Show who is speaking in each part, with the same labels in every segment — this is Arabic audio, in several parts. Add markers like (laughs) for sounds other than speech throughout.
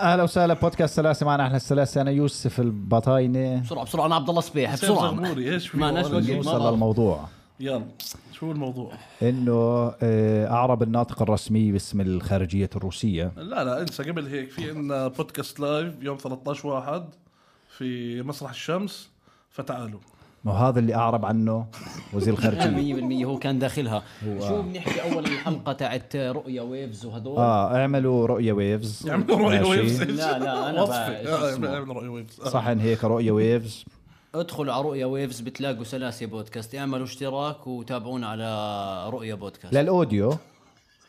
Speaker 1: اهلا وسهلا بودكاست سلاسه معنا احنا السلاسه انا يوسف البطاينه
Speaker 2: بسرعه بسرعه انا عبد الله صبيح
Speaker 3: حسين
Speaker 2: بسرعه
Speaker 3: زغموري ايش في
Speaker 2: معناش
Speaker 3: والله؟
Speaker 2: وجه.
Speaker 1: نوصل
Speaker 2: مرة.
Speaker 1: للموضوع
Speaker 3: يلا شو الموضوع؟
Speaker 1: انه آه، اعرب الناطق الرسمي باسم الخارجيه الروسيه
Speaker 3: لا لا انسى قبل هيك في عندنا بودكاست لايف يوم 13 واحد في مسرح الشمس فتعالوا
Speaker 1: ما هو هذا اللي اعرب عنه وزير
Speaker 2: (laughs)
Speaker 1: الخارجيه
Speaker 2: 100% هو كان داخلها شو بنحكي اول الحلقه تاعت رؤيا ويفز وهدول
Speaker 1: اه اعملوا رؤية ويفز
Speaker 3: يعملوا رؤيا
Speaker 1: ماشي.
Speaker 3: ويفز
Speaker 2: لا، لا،
Speaker 3: (laughs)
Speaker 2: أنا بقى- شو
Speaker 3: وصفه
Speaker 2: اسمه؟
Speaker 3: آه، يعملوا رؤيا (laughs) ويفز آه.
Speaker 1: صحن هيك رؤية ويفز
Speaker 2: ادخلوا على رؤيا ويفز بتلاقوا سلاسه بودكاست اعملوا اشتراك وتابعونا على رؤيا بودكاست
Speaker 1: للاوديو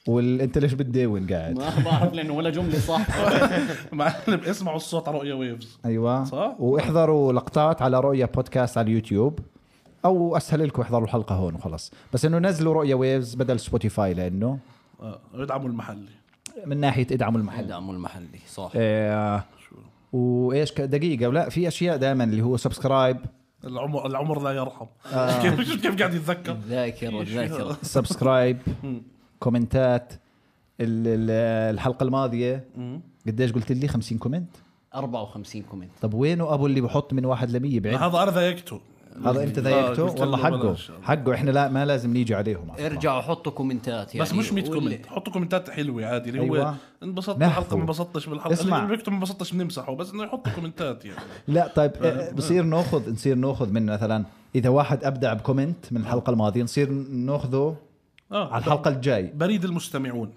Speaker 1: وانت ليش بتداون قاعد
Speaker 2: ما بعرف لانه ولا جمله (laughs) صح
Speaker 3: معلم اسمعوا الصوت على رؤيا ويفز
Speaker 1: ايوه
Speaker 3: صح؟
Speaker 1: واحضروا لقطات على رؤية بودكاست على اليوتيوب او اسهل لكم احضروا الحلقة هون وخلص بس انه نزلوا رؤية ويفز بدل سبوتيفاي لانه
Speaker 3: آه. يدعموا المحلي
Speaker 1: من ناحية ادعموا المحل
Speaker 2: دعموا المحلي صح
Speaker 1: آه وايش ك- دقيقة ولا في اشياء دائما اللي هو سبسكرايب
Speaker 3: العمر العمر لا يرحم
Speaker 2: آه.
Speaker 3: (laughs) كيف شوف كيف قاعد يتذكر
Speaker 2: ذاكرة ذاكرة
Speaker 1: سبسكرايب
Speaker 3: (laughs)
Speaker 1: كومنتات ال- ال- الحلقة الماضية قديش قلت لي 50 كومنت
Speaker 2: 54 كومنت
Speaker 1: طب وينه ابو اللي بحط من واحد لمية بعيد
Speaker 3: هذا انا ذايقته
Speaker 1: هذا انت ضايقته
Speaker 3: آه، قلت له
Speaker 1: والله حقه
Speaker 3: بلاش.
Speaker 1: حقه احنا لا ما لازم نيجي عليهم
Speaker 2: ارجعوا حطوا كومنتات يعني
Speaker 3: بس مش 100
Speaker 2: واللي-
Speaker 3: كومنت حطوا كومنتات حلوه عادي اللي هو
Speaker 1: أيوة.
Speaker 3: انبسطت
Speaker 1: نحفظ.
Speaker 3: بالحلقه ما انبسطتش بالحلقه
Speaker 1: اسمع.
Speaker 3: اللي بيكتب ما انبسطتش بنمسحه بس انه يحطوا كومنتات يعني
Speaker 1: لا طيب آه، بصير ناخذ نصير ناخذ من مثلا اذا واحد ابدع بكومنت من الحلقه الماضيه نصير ناخذه
Speaker 3: اه
Speaker 1: على الحلقه الجاي
Speaker 3: بريد
Speaker 2: (laughs)
Speaker 3: المستمعون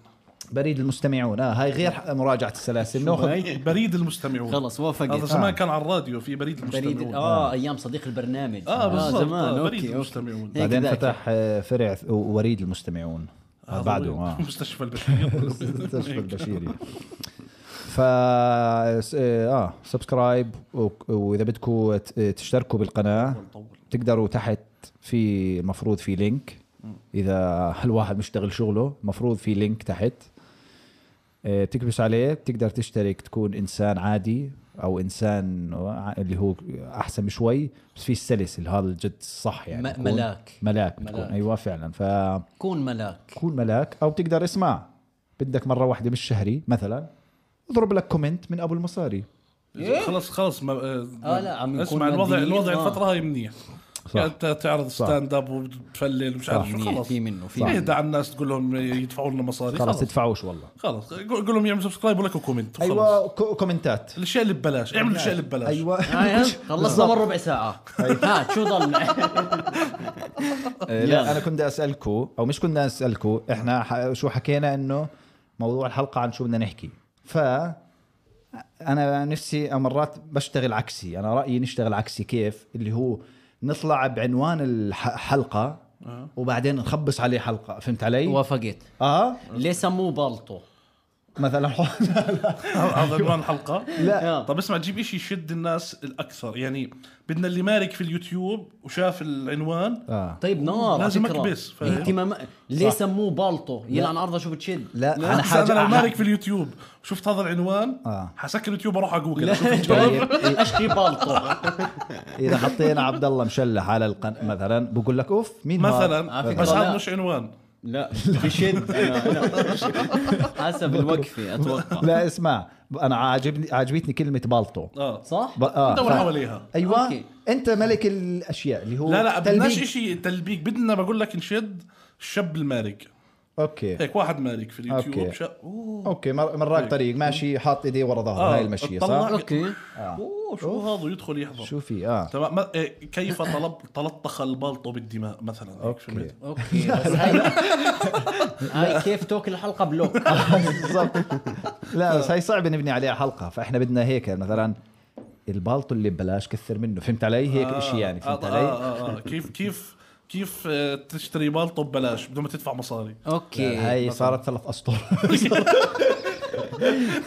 Speaker 1: بريد المستمعون اه هاي غير ح- مراجعه السلاسل ناخذ
Speaker 3: بريد المستمعون
Speaker 2: خلص
Speaker 3: هذا
Speaker 2: وافقت
Speaker 3: زمان كان على الراديو في بريد
Speaker 2: بريد
Speaker 3: المستمعون
Speaker 2: اه ايام صديق البرنامج
Speaker 3: اه بالضبط
Speaker 2: زمان
Speaker 3: آه بريد
Speaker 2: اوكي اوكي
Speaker 3: المستمعون
Speaker 2: هيك
Speaker 1: بعدين
Speaker 2: ذاك.
Speaker 1: فتح آه، فرع ث- وريد المستمعون آه،
Speaker 3: هذا
Speaker 1: بعده
Speaker 3: وين؟
Speaker 1: اه
Speaker 2: (laughs)
Speaker 3: مستشفى البشير
Speaker 1: مستشفى البشيري ف اه سبسكرايب و- واذا بدكم ت- تشتركوا بالقناه تقدروا تحت في المفروض في لينك اذا الواحد مشتغل شغله المفروض في لينك تحت آه، تكبس عليه بتقدر تشترك تكون انسان عادي او انسان ع- اللي هو احسن شوي بس في السلسل هذا الجد صح يعني
Speaker 2: م-
Speaker 1: بكون-
Speaker 2: ملاك.
Speaker 1: ملاك بتكون
Speaker 2: ملاك.
Speaker 1: ايوه فعلا ف
Speaker 2: كون ملاك
Speaker 1: كون ملاك او بتقدر اسمع بدك مره واحده بالشهري مثلا اضرب لك كومنت من ابو المصاري
Speaker 3: إيه؟ خلص خلص ما
Speaker 2: آه، لا، عم نكون
Speaker 3: اسمع الوضع
Speaker 2: ماديين،
Speaker 3: الوضع
Speaker 2: آه.
Speaker 3: الفتره هاي منيح يعني انت تعرض ستاند اب وبتفلل ومش عارف شو
Speaker 2: منيح،
Speaker 3: خلص
Speaker 2: في منه في منه
Speaker 3: اهدى على الناس تقول لهم يدفعوا لنا مصاري
Speaker 1: خلاص
Speaker 3: خلص
Speaker 1: تدفعوش والله
Speaker 3: خلص قول قول لهم يعملوا سبسكرايب ولك كومنت
Speaker 2: أيوة،
Speaker 3: وخلص
Speaker 1: ايوه كو- كومنتات
Speaker 3: الاشياء اللي ببلاش اعملوا الاشياء اللي ببلاش
Speaker 1: ايوه
Speaker 2: آه،
Speaker 1: (laughs)
Speaker 2: خلصنا من ربع ساعة
Speaker 1: طيب.
Speaker 2: هات شو ضل
Speaker 1: آه، لا انا كنت اسالكم او مش كنا اسالكم احنا ح- شو حكينا انه موضوع الحلقه عن شو بدنا نحكي ف انا نفسي مرات بشتغل عكسي انا رايي نشتغل عكسي كيف اللي هو نطلع بعنوان الحلقه وبعدين نخبص عليه حلقه فهمت علي
Speaker 2: وافقت
Speaker 1: اه
Speaker 2: ليه سموه بالطو؟
Speaker 1: مثلا
Speaker 3: هذا عنوان الحلقه
Speaker 1: لا
Speaker 3: طب اسمع جيب شيء يشد الناس الاكثر يعني بدنا اللي مارك في اليوتيوب وشاف العنوان
Speaker 1: اه
Speaker 2: طيب نار على
Speaker 3: لازم
Speaker 2: فكرة.
Speaker 3: أكبس، فاهم؟
Speaker 2: اهتمام ليه سموه بالطو؟ يلعن عرضه شو بتشد (laughs)
Speaker 1: لا انا
Speaker 3: انا حاجة انا لو
Speaker 1: حاجه (laughs)
Speaker 3: مارك في اليوتيوب شفت هذا العنوان
Speaker 1: آه.
Speaker 3: حسكر اليوتيوب اروح على جوجل أشوف
Speaker 1: طيب
Speaker 2: اشكي بالطو
Speaker 1: اذا حطينا عبد الله مشلح على القناه مثلا بقول لك اوف مين هذا؟
Speaker 3: مثلا
Speaker 2: على فكرة
Speaker 3: بس هذا
Speaker 2: لا.
Speaker 3: مش عنوان
Speaker 2: لا بشد أنا- أنا- حسب الوقفة اتوقع
Speaker 1: (laughs) لا اسمع انا عاجبني عاجبتني كلمه بالطو
Speaker 3: اه
Speaker 2: صح؟
Speaker 1: ب... آه.
Speaker 3: دور
Speaker 1: ف-
Speaker 3: حواليها.
Speaker 1: ايوه
Speaker 2: أوكي.
Speaker 1: انت ملك الاشياء اللي هو
Speaker 3: لا لا بدناش
Speaker 1: تلبيك.
Speaker 3: شيء تلبيك بدنا بقول لك نشد الشاب المارق
Speaker 1: اوكي
Speaker 3: هيك واحد مارق في اليوتيوب
Speaker 1: أوكي.
Speaker 3: شا... اوه
Speaker 1: اوكي مر... مراك طريق ماشي حاط ايديه ورا ظهره
Speaker 3: طيب. آه،
Speaker 1: هاي المشيه
Speaker 3: اطلع.
Speaker 1: صح
Speaker 2: اوكي
Speaker 1: آه.
Speaker 3: اوه شو هذا يدخل يحضر
Speaker 1: شو في اه
Speaker 3: تمام ما- إيه، كيف طلب تلطخ البلطو بالدماء مثلا هيك
Speaker 1: اوكي
Speaker 3: في الميدان.
Speaker 2: اوكي بس هاي هاي كيف توكل الحلقة بلوك
Speaker 1: (laughs) بالضبط لا بس هاي صعب نبني عليها حلقه فاحنا بدنا هيك مثلا البالطو اللي ببلاش كثر منه فهمت علي هيك
Speaker 3: آه،
Speaker 1: اشي يعني فهمت
Speaker 3: آه،
Speaker 1: علي
Speaker 3: آه، آه، آه. كيف كيف كيف آه، تشتري بالطو ببلاش بدون ما تدفع مصاري
Speaker 2: اوكي
Speaker 1: يعني هاي صارت ثلاث
Speaker 3: (laughs)
Speaker 1: اسطر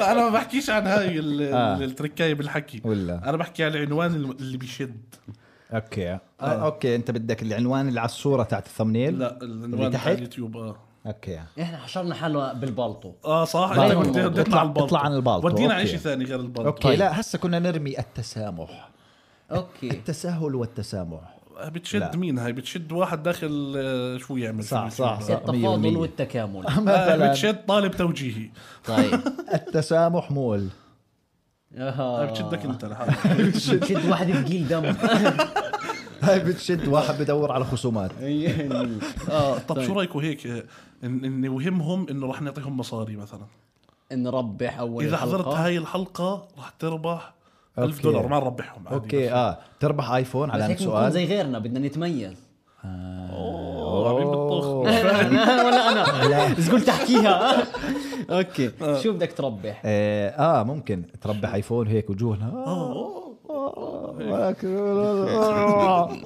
Speaker 3: انا ما بحكيش عن هاي ال-
Speaker 1: آه.
Speaker 3: التركايه بالحكي
Speaker 1: ولا.
Speaker 3: انا بحكي عن العنوان الم- اللي بيشد
Speaker 1: اوكي آه. اوكي انت بدك العنوان اللي على الصوره تاعت الثمنيل
Speaker 3: لا العنوان
Speaker 1: اللي
Speaker 3: تاع
Speaker 1: تحت
Speaker 3: اليوتيوب اه
Speaker 1: اوكي
Speaker 2: احنا حشرنا حالنا بالبالطو
Speaker 3: اه صح
Speaker 2: بعد
Speaker 3: انت
Speaker 2: الموضوع.
Speaker 3: كنت بدي
Speaker 1: اطلع-
Speaker 3: اطلع البلطو
Speaker 1: اطلع عن البلطو،
Speaker 3: ودينا على
Speaker 1: أوكي.
Speaker 3: شيء ثاني غير البلطو
Speaker 1: اوكي لا هسه كنا نرمي التسامح
Speaker 2: اوكي
Speaker 1: التساهل
Speaker 3: (laughs)
Speaker 1: والتسامح
Speaker 3: بتشد
Speaker 1: لا.
Speaker 3: مين هاي بتشد واحد داخل آه، شو آه، يعمل في
Speaker 1: صح،
Speaker 3: اليوتيوب؟
Speaker 1: صح، صح. مية
Speaker 2: التفاضل
Speaker 1: بالمية.
Speaker 2: والتكامل
Speaker 3: آه،
Speaker 1: مثلا
Speaker 3: بتشد طالب توجيهي
Speaker 2: طيب
Speaker 1: التسامح مول
Speaker 4: آه.
Speaker 3: هاي بتشدك انت لحالك
Speaker 4: شد واحد ثقيل دم
Speaker 1: (laughs) هاي بتشد واحد بدور على خصومات
Speaker 3: آه طب
Speaker 1: طيب.
Speaker 3: شو رايكم هيك آه، ان إن يوهمهم انه راح نعطيهم مصاري مثلا
Speaker 4: نربح اول
Speaker 3: اذا
Speaker 4: الحلقة.
Speaker 3: حضرت هاي الحلقه راح تربح 1000
Speaker 1: أوكي.
Speaker 3: دولار ما نربحهم عادي
Speaker 1: اوكي اه تربح ايفون
Speaker 4: بس
Speaker 1: على
Speaker 4: هيك بنكون
Speaker 1: سؤال
Speaker 4: زي غيرنا بدنا
Speaker 3: (laughs)
Speaker 4: نتميز
Speaker 3: أوه، عاملين بالطخ.
Speaker 4: أنا ولا انا بس قلت
Speaker 3: (laughs)
Speaker 4: احكيها اوكي شو بدك تربح
Speaker 1: آه, اه ممكن تربح ايفون هيك وجوهنا
Speaker 3: (laughs)
Speaker 1: آه.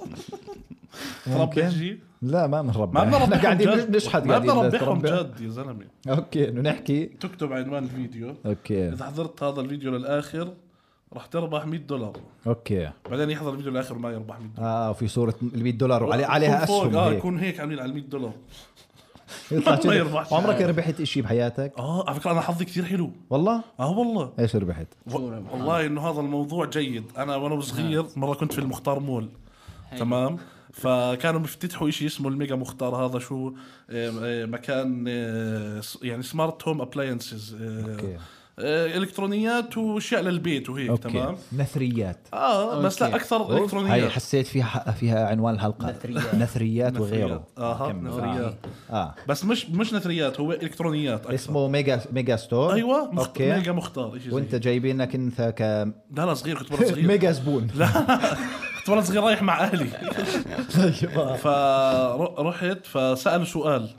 Speaker 3: تربح شيء
Speaker 1: لا ما
Speaker 3: ما
Speaker 1: بنربح
Speaker 3: بدنا
Speaker 1: احنا
Speaker 3: نربحهم
Speaker 1: قاعدين
Speaker 3: جد.
Speaker 1: نشحت
Speaker 3: ما
Speaker 1: قاعدين
Speaker 3: بدنا
Speaker 1: بس
Speaker 3: نربحهم
Speaker 1: تربح.
Speaker 3: جد يا زلمه
Speaker 1: اوكي انه نحكي
Speaker 3: تكتب عنوان الفيديو
Speaker 1: اوكي
Speaker 3: اذا حضرت هذا الفيديو للاخر راح تربح 100 دولار
Speaker 1: اوكي
Speaker 3: بعدين يحضر الفيديو للاخر وما يربح 100 دولار
Speaker 1: اه في صورة ال 100 دولار وعلي عليها
Speaker 3: يكون فوق،
Speaker 1: اسهم
Speaker 3: اه
Speaker 1: هيك
Speaker 3: يكون هيك عاملين على 100 دولار (laughs)
Speaker 1: يطلع
Speaker 3: ما
Speaker 1: كذا.
Speaker 3: يربحش.
Speaker 1: عمرك ربحت شيء بحياتك؟
Speaker 3: اه على فكره انا حظي كثير حلو
Speaker 1: والله؟
Speaker 3: اه والله
Speaker 1: ايش ربحت؟
Speaker 3: و- والله انه هذا الموضوع جيد انا وانا صغير
Speaker 1: نعم.
Speaker 3: مره كنت في المختار مول تمام فكانوا بيفتتحوا شيء اسمه الميجا مختار هذا شو آه، آه، مكان آه، س- يعني سمارت هوم ابلاينسز
Speaker 1: أوكي.
Speaker 3: الكترونيات واشياء آه، للبيت وهيك إيه، تمام
Speaker 1: اوكي نثريات
Speaker 3: اه بس لا
Speaker 4: أوكي.
Speaker 3: اكثر
Speaker 1: هاي
Speaker 3: الكترونيات
Speaker 1: حسيت فيها ح- فيها عنوان الحلقة
Speaker 4: نثريات.
Speaker 1: نثريات وغيره
Speaker 3: نثريات. آها،
Speaker 1: كمل.
Speaker 3: نثريات.
Speaker 1: اه
Speaker 3: بس مش مش نثريات هو الكترونيات اكثر
Speaker 1: اسمه ميجا ميجا ستور
Speaker 3: ايوه مخت...
Speaker 1: اوكي
Speaker 3: ميجا مختار شيء
Speaker 1: وانت
Speaker 3: وانت
Speaker 1: جايبينك انت ك
Speaker 3: لا لا
Speaker 1: (laughs)
Speaker 3: صغير كنت مره صغير
Speaker 1: ميجا زبون (laughs)
Speaker 3: كنت مره صغير رايح مع اهلي
Speaker 1: طيب.
Speaker 3: فرحت فسالوا سؤال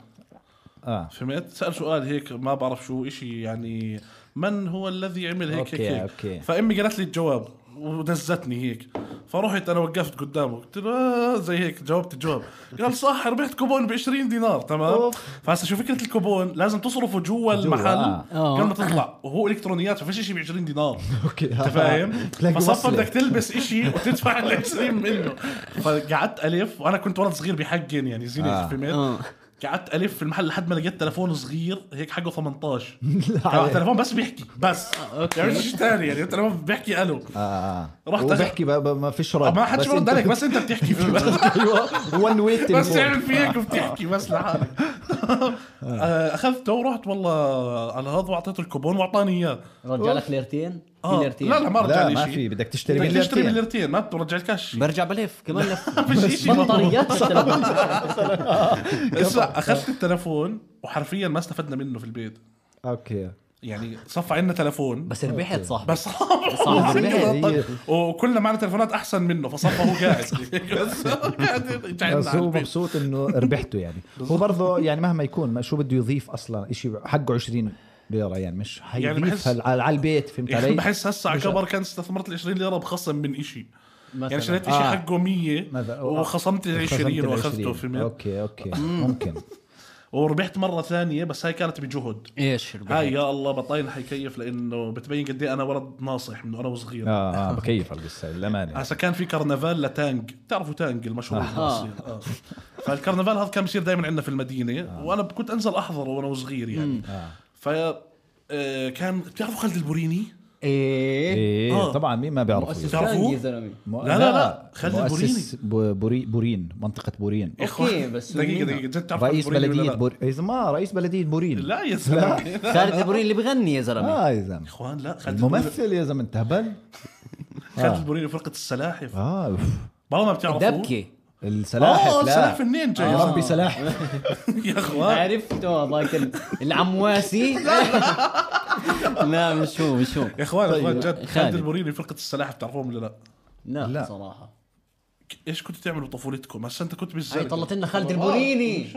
Speaker 1: اه
Speaker 3: فهمت سال سؤال هيك ما بعرف شو إشي يعني من هو الذي عمل هيك
Speaker 1: أوكي،
Speaker 3: هيك هيك
Speaker 1: أوكي.
Speaker 3: فامي قالت لي الجواب ودزتني هيك فرحت انا وقفت قدامه قلت له آه زي هيك جاوبت الجواب قال (laughs) صح ربحت كوبون ب 20 دينار تمام
Speaker 1: أوف.
Speaker 3: فهسه شو فكره الكوبون لازم تصرفه جوا المحل
Speaker 4: آه.
Speaker 3: قبل ما تطلع وهو الكترونيات ففيش شيء ب 20 دينار
Speaker 1: اوكي
Speaker 3: انت
Speaker 1: (laughs)
Speaker 3: فاهم؟
Speaker 1: تلاقي
Speaker 3: فصفى
Speaker 1: وصلة.
Speaker 3: بدك
Speaker 1: (laughs)
Speaker 3: تلبس إشي وتدفع (laughs) ال 20 منه فقعدت الف وانا كنت ولد صغير بحقن يعني زين
Speaker 1: آه.
Speaker 3: فهمت؟
Speaker 4: آه.
Speaker 3: قعدت الف في المحل لحد ما لقيت تلفون صغير هيك حقه
Speaker 1: (laughs)
Speaker 3: 18
Speaker 1: عليك.
Speaker 3: كان تلفون بس بيحكي بس
Speaker 4: آه، أوكي.
Speaker 3: يعني شيء ثاني يعني تلفون بيحكي الو
Speaker 1: اه اه
Speaker 3: رحت
Speaker 1: رحت وبحكي ب- ب- ما فيش رد
Speaker 3: ما حدش
Speaker 1: بس
Speaker 3: برد
Speaker 1: أنت- (laughs)
Speaker 3: عليك بس انت بتحكي
Speaker 1: ايوه ون ويت
Speaker 3: بس تعمل فيك وبتحكي بس لحالك (laughs) آه، اخذته ورحت والله على هذا واعطيته الكوبون واعطاني اياه
Speaker 4: رجع لك ليرتين في
Speaker 3: آه،
Speaker 4: ليرتين
Speaker 3: لا لا ما رجع
Speaker 1: لا
Speaker 3: لي
Speaker 1: ما
Speaker 3: شيء
Speaker 1: في بدك تشتري من
Speaker 3: بدك تشتري من
Speaker 1: ليرتين.
Speaker 3: ليرتين ما بترجع الكاش
Speaker 4: برجع بلف كمان
Speaker 3: (laughs)
Speaker 4: لف
Speaker 3: ما في شيء
Speaker 4: بطاريات مثلا
Speaker 3: اسمع اخذت التلفون وحرفيا ما استفدنا منه في البيت
Speaker 1: اوكي
Speaker 3: يعني صفى عندنا تلفون
Speaker 4: بس ربحت صاحبي
Speaker 1: (laughs)
Speaker 3: بس (laughs)
Speaker 4: صعب.
Speaker 3: وكلنا معنا تلفونات احسن منه فصفى هو
Speaker 1: (laughs)
Speaker 3: قاعد (laughs) بس هو قاعد يجعلنا
Speaker 1: بس
Speaker 3: على
Speaker 1: هو
Speaker 3: البيت.
Speaker 1: مبسوط انه ربحته
Speaker 3: (laughs)
Speaker 1: يعني هو برضه يعني مهما يكون ما شو بده يضيف اصلا شيء حقه 20 ليره يعني مش
Speaker 3: بحس-
Speaker 1: حيضيف هال- على على البيت فهمت
Speaker 3: يعني
Speaker 1: علي؟
Speaker 3: بحس هسه على كبر كان استثمرت ال 20 ليره بخصم من إشي يعني شريت إشي
Speaker 1: آه.
Speaker 3: حقه 100
Speaker 1: مثلا.
Speaker 3: وخصمت ال 20 واخذته فهمت
Speaker 1: اوكي اوكي ممكن
Speaker 3: وربحت مره ثانيه بس هاي كانت بجهد
Speaker 4: ايش ربحت؟
Speaker 3: هاي يا الله بطين حيكيف لانه بتبين قد ايه انا ولد ناصح من انا وصغير
Speaker 1: اه اه بكيف على القصه
Speaker 4: يعني.
Speaker 1: للامانه
Speaker 3: هسا كان في كرنفال لتانج بتعرفوا تانج المشهور بالمصري. آه. فالكرنفال هذا كان بيصير دائما عندنا في المدينه آه. وانا كنت انزل احضره وانا صغير يعني آه. ف آه، كان بتعرفوا خالد البوريني؟
Speaker 4: ايه
Speaker 1: ايه
Speaker 3: آه.
Speaker 1: طبعا مين ما بيعرفه
Speaker 4: مؤسس
Speaker 1: يعني.
Speaker 3: تعرفوه؟
Speaker 4: تاني يا
Speaker 3: (laughs)
Speaker 4: زلمه
Speaker 1: مو-
Speaker 3: لا، لا، لا، خالد
Speaker 1: مؤسس بو- بوري بورين منطقه بورين
Speaker 4: اوكي بس
Speaker 3: دقيقه
Speaker 4: مين؟
Speaker 3: دقيقه جد تعرفوا
Speaker 1: رئيس
Speaker 3: خالد البوريني ولا
Speaker 1: بلديه
Speaker 3: لا؟
Speaker 1: بورين اذا ما رئيس بلديه بورين
Speaker 3: لا يا زلمه
Speaker 4: خالد البورين اللي بغني يا زلمه
Speaker 1: اه يا زلمه
Speaker 3: اخوان لا خالد الممثل آه.
Speaker 1: الممثل يا زلمه انت هبل
Speaker 3: خالد البوريني فرقه السلاحف
Speaker 1: اه أوف.
Speaker 3: والله ما بتعرفوا
Speaker 4: دبكه
Speaker 1: السلاحف
Speaker 3: اه السلاحف
Speaker 1: لا
Speaker 3: النينجا يا
Speaker 1: ربي
Speaker 3: زلمة. (laughs)
Speaker 1: سلاحف
Speaker 3: يا
Speaker 4: آه.
Speaker 3: اخوان
Speaker 4: عرفته هذاك ال-
Speaker 1: (laughs)
Speaker 4: العمواسي لا مش هو مش هو
Speaker 3: يا اخوان يا اخوان جد خالد
Speaker 4: طيب. خالد.
Speaker 3: البوريني فرقه السلاحف بتعرفوهم ولا لا؟
Speaker 4: لا,
Speaker 1: لا.
Speaker 4: صراحه
Speaker 3: ايش كنتوا تعملوا بطفولتكم؟ هسا انت كنت بالزلمه
Speaker 4: هاي طلعت لنا خالد البوريني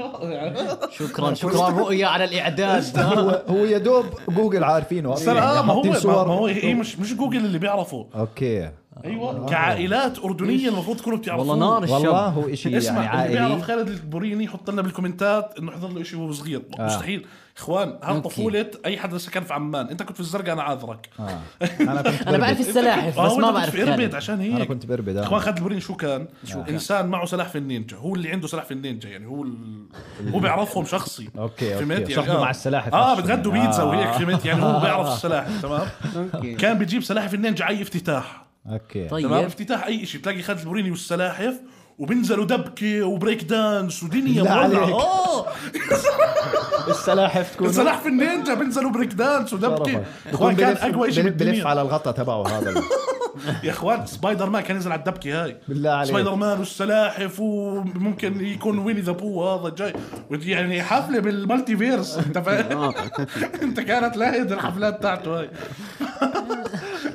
Speaker 4: شكرا شكرا رؤيا على الاعداد
Speaker 1: هو هو يا دوب جوجل عارفينه يعني
Speaker 3: بس لا، آه، ما هو
Speaker 1: حاطين
Speaker 3: ما
Speaker 1: صور.
Speaker 3: ما هو هي مش مش جوجل اللي بيعرفه
Speaker 1: اوكي
Speaker 3: ايوه كعائلات اردنيه المفروض تكونوا بتعرفوه
Speaker 4: والله نار
Speaker 1: والله
Speaker 4: الشاب
Speaker 1: هو شيء
Speaker 3: اسمع
Speaker 1: يعني
Speaker 3: يعني اللي بيعرف
Speaker 1: عائلي
Speaker 3: خالد البوريني يحط لنا بالكومنتات انه حضر له شيء وهو صغير آه. مستحيل اخوان هذا
Speaker 4: أوكي.
Speaker 3: طفوله اي حدا سكن في عمان انت كنت في الزرقاء انا عاذرك (laughs)
Speaker 1: آه. انا كنت
Speaker 4: انا بعرف
Speaker 1: بربد
Speaker 4: السلاحف
Speaker 3: آه،
Speaker 4: بس
Speaker 3: وأنت
Speaker 4: ما
Speaker 3: كنت
Speaker 4: بعرف
Speaker 3: في اربد
Speaker 4: خالد
Speaker 3: عشان
Speaker 1: انا
Speaker 3: هيك
Speaker 1: كنت بربد
Speaker 3: اخوان
Speaker 1: آه.
Speaker 3: خالد البوريني شو كان؟ شو انسان معه سلاح في النينجا هو اللي عنده سلاح في النينجا يعني هو ال... هو بيعرفهم شخصي
Speaker 1: أوكي، أوكي.
Speaker 3: فهمت؟
Speaker 1: شخصه مع السلاحف
Speaker 3: اه
Speaker 1: نفسهم.
Speaker 3: بتغدوا بيتزا وهيك فهمت يعني هو بيعرف السلاحف تمام
Speaker 4: أوكي.
Speaker 3: كان بيجيب سلاحف النينجا على اي افتتاح
Speaker 1: اوكي
Speaker 4: طيب
Speaker 3: تمام افتتاح اي شيء بتلاقي خالد البوريني والسلاحف وبنزلوا دبكه وبريك دانس ودنيا
Speaker 1: لا
Speaker 3: مولعه
Speaker 1: عليك.
Speaker 3: اه
Speaker 1: (laughs) السلاحف تكون (laughs)
Speaker 3: سلاح في النينجا بنزلوا بريك دانس ودبكه
Speaker 1: شرفاً.
Speaker 3: يا
Speaker 1: بكون
Speaker 3: اخوان كان
Speaker 1: بلف-
Speaker 3: اقوى شيء
Speaker 1: بلف- بلف
Speaker 3: بالدنيا
Speaker 1: على الغطا تبعه هذا
Speaker 3: (laughs) يا اخوان سبايدر مان كان ينزل على الدبكه هاي
Speaker 1: بالله عليك.
Speaker 3: سبايدر مان والسلاحف وممكن يكون ويني ذا بو هذا جاي يعني حفله بالمالتي فيرس انت (laughs) فاهم انت كانت لاهيد الحفلات تاعته هاي (laughs)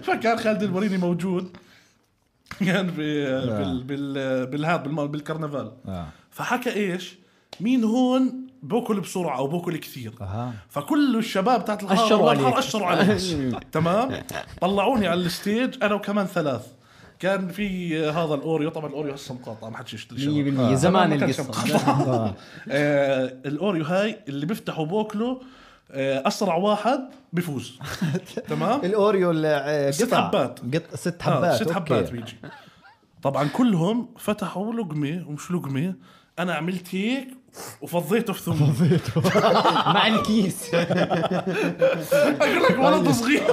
Speaker 3: فكان خالد البريني موجود كان في بال بال بالهاد بالم- بالكرنفال
Speaker 1: آه.
Speaker 3: فحكى ايش مين هون بوكل بسرعه او بوكل كثير
Speaker 1: أها.
Speaker 3: فكل الشباب تاعت الحاره
Speaker 4: أشروا
Speaker 3: والحارة
Speaker 4: عليك.
Speaker 3: اشروا علي تمام طلعوني على الستيج انا وكمان ثلاث كان في هذا الاوريو طبعا الاوريو هسه مقاطع ما حدش يشتري شباب.
Speaker 2: 100% زمان القصه
Speaker 3: آه. (laughs) آه، الاوريو هاي اللي بيفتحوا بوكله آه، اسرع واحد بفوز تمام
Speaker 1: الاوريو ال- آه،
Speaker 3: ست
Speaker 1: قطع.
Speaker 3: حبات.
Speaker 1: قط... ست
Speaker 3: آه،
Speaker 1: حبات
Speaker 3: ست
Speaker 1: أوكي.
Speaker 3: حبات بيجي طبعا كلهم فتحوا لقمه ومش لقمه انا عملت هيك وفضيته في ثمي
Speaker 2: (laughs)
Speaker 3: (laughs)
Speaker 2: مع الكيس
Speaker 3: اقول لك
Speaker 1: طيب.
Speaker 3: ولد صغير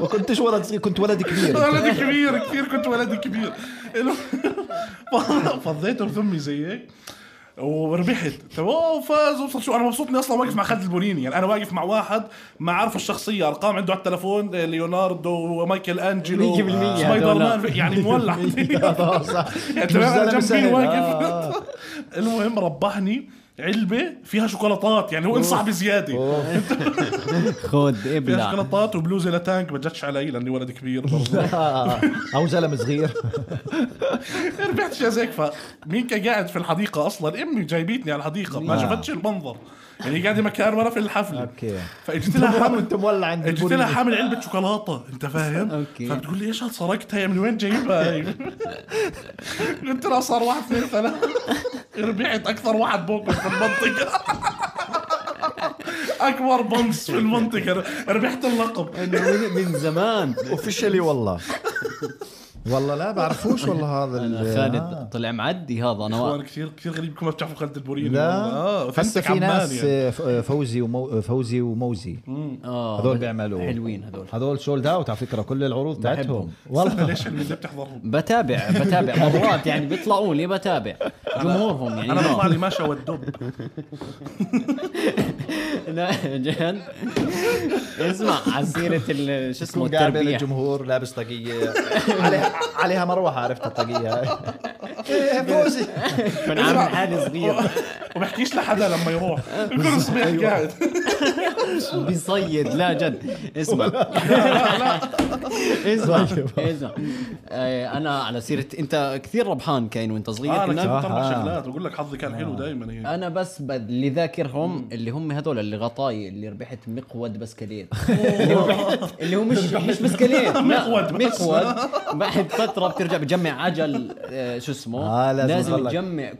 Speaker 1: ما كنتش ولد صغير كنت ولد كبير
Speaker 3: (laughs) ولد كبير كثير كنت ولد كبير (laughs) الو- فضيته بفمي زي هيك وربحت طب اوه فاز وصل شو انا مبسوط اني اصلا واقف مع خالد البونيني يعني انا واقف مع واحد ما عارف الشخصيه ارقام عنده على التلفون آه، ليوناردو ومايكل انجلو
Speaker 2: 100%
Speaker 3: سبايدر
Speaker 2: هذولا.
Speaker 1: (laughs)
Speaker 3: مان يعني مولع
Speaker 1: آه، صح.
Speaker 3: (laughs) يعني
Speaker 1: مش
Speaker 3: تمام
Speaker 1: زلمة
Speaker 3: انا جنبي
Speaker 1: سهل.
Speaker 3: واقف
Speaker 1: آه.
Speaker 3: (laughs) المهم ربحني علبه فيها شوكولاتات يعني هو انصح بزياده
Speaker 2: خذ
Speaker 3: فيها
Speaker 2: ابلع
Speaker 3: شوكولاتات وبلوزه لتانك ما جتش علي لاني ولد كبير برضه
Speaker 1: آه، او زلمه
Speaker 3: (laughs)
Speaker 1: صغير
Speaker 3: ربحت شيء زيك فمين كان قاعد في الحديقه اصلا امي جايبيتني على الحديقه ما
Speaker 1: آه.
Speaker 3: شفتش المنظر يعني قاعده مكان ورا في الحفله
Speaker 1: أوكي.
Speaker 3: فاجت لها حامل
Speaker 1: وانت مولع عند
Speaker 3: اجت لها
Speaker 1: البوليس.
Speaker 3: حامل علبه شوكولاته انت فاهم
Speaker 2: أوكي.
Speaker 3: فبتقول لي ايش هالسرقتها هي من وين جايبها
Speaker 1: (laughs)
Speaker 3: هي قلت لها صار واحد اثنين ثلاثه ربحت اكثر واحد بوكس في (laughs) المنطقه اكبر بونس في المنطقه ربحت اللقب
Speaker 2: من من زمان
Speaker 1: اوفشلي
Speaker 3: (laughs)
Speaker 1: والله والله لا بعرفوش والله هذا ال-
Speaker 2: خالد
Speaker 1: آه.
Speaker 2: طلع معدي هذا انا
Speaker 3: اخوان
Speaker 2: واقف.
Speaker 3: كثير كثير غريب كل ما بتعرفوا خالد البوريني
Speaker 1: لا هسه في ناس
Speaker 3: يعني.
Speaker 1: آه، ف- آه، فوزي ومو فوزي وموزي
Speaker 2: آه،
Speaker 1: هذول بيعملوا
Speaker 2: حلوين هذول
Speaker 1: هذول سولد اوت على فكره كل العروض تاعتهم
Speaker 3: والله
Speaker 1: (laughs)
Speaker 2: (laughs)
Speaker 1: والله
Speaker 3: ليش اللي بتحضرهم
Speaker 2: بتابع بتابع مرات يعني بيطلعوا لي بتابع جمهورهم يعني
Speaker 3: انا
Speaker 2: نار.
Speaker 3: بطلع لي ماشا والدب
Speaker 2: لا جد اسمع على سيرة ال- شو اسمه
Speaker 1: تكون قاعد بين
Speaker 2: التربية
Speaker 1: الجمهور لابس طاقيه عليها عليها مروحه عرفت
Speaker 2: (laughs)
Speaker 1: الطاقيه هاي إيه، فوزي
Speaker 2: من (laughs) عامل حالي
Speaker 3: (laughs)
Speaker 2: صغير أيوة.
Speaker 3: وبحكيش لحدا لما
Speaker 2: (laughs)
Speaker 3: يروح كل صبح قاعد
Speaker 2: بيصيد لا جد
Speaker 1: (laughs)
Speaker 2: اسمع اسمع
Speaker 1: طيب.
Speaker 2: اسمع آه، انا على سيرة انت كثير ربحان كاين وانت
Speaker 3: آه،
Speaker 2: صغير
Speaker 3: انا كنت
Speaker 2: كنا
Speaker 1: آه.
Speaker 3: اربع شغلات بقول لك حظي كان
Speaker 2: آه.
Speaker 3: حلو دائما هيك
Speaker 2: انا بس ب- اللي ذاكرهم اللي هم هذول اللي غطاي اللي ربحت مقود
Speaker 3: (laughs)
Speaker 2: بسكليت اللي هو مش مش بسكليت
Speaker 3: مقود
Speaker 2: مقود
Speaker 3: بس.
Speaker 2: مقود بعد فتره بترجع بتجمع عجل آه، شو اسمه
Speaker 1: آه، لازم
Speaker 2: لازم
Speaker 1: يضلك.
Speaker 2: تجمع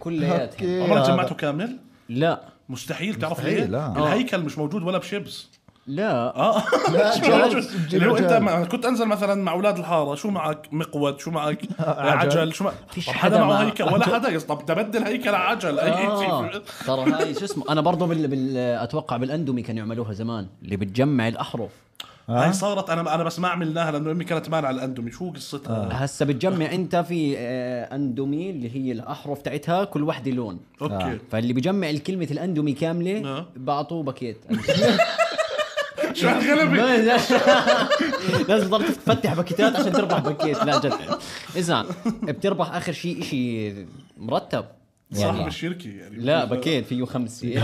Speaker 1: أوكي.
Speaker 2: كلياتها
Speaker 3: عمرك جمعته كامل؟
Speaker 2: لا
Speaker 3: مستحيل تعرف
Speaker 1: مستحيل،
Speaker 3: ليه؟
Speaker 1: لا.
Speaker 3: الهيكل مش موجود ولا بشيبس
Speaker 2: لا
Speaker 3: اه
Speaker 1: لا، (laughs)
Speaker 3: مش موجود.
Speaker 1: جد،
Speaker 3: اللي هو
Speaker 1: جد.
Speaker 3: انت مع- كنت انزل مثلا مع اولاد الحاره شو معك مقود شو
Speaker 2: (laughs)
Speaker 3: معك
Speaker 1: عجل.
Speaker 3: عجل شو معك
Speaker 2: آه، فيش
Speaker 3: طب
Speaker 2: حدا
Speaker 3: حدا
Speaker 2: مع-
Speaker 3: معه هيكل ولا حدا يس- طب تبدل هيكل على عجل اي
Speaker 2: آه.
Speaker 3: شيء
Speaker 2: ترى هاي شو اسمه انا برضه بال... بال... اتوقع بالاندومي كانوا يعملوها زمان اللي بتجمع الاحرف آه.
Speaker 3: هاي صارت انا انا بس ما عملناها لانه امي كانت مانعه على الاندومي شو
Speaker 1: آه.
Speaker 3: قصتها؟
Speaker 2: هسه بتجمع انت في آه، اندومي اللي هي الاحرف تاعتها كل وحده لون
Speaker 3: اوكي
Speaker 2: فاللي بيجمع الكلمة الاندومي كاملة
Speaker 3: آه.
Speaker 2: بعطوه باكيت (laughs) آه.
Speaker 3: شو هالغلبه؟
Speaker 2: ما- لا- لازم تضل تفتح باكيتات عشان تربح باكيت لا جد اسمع بتربح اخر شيء شيء مرتب
Speaker 3: صاحب
Speaker 2: يعني
Speaker 3: الشركه يعني
Speaker 2: لا باكيت فيه خمس
Speaker 1: شيء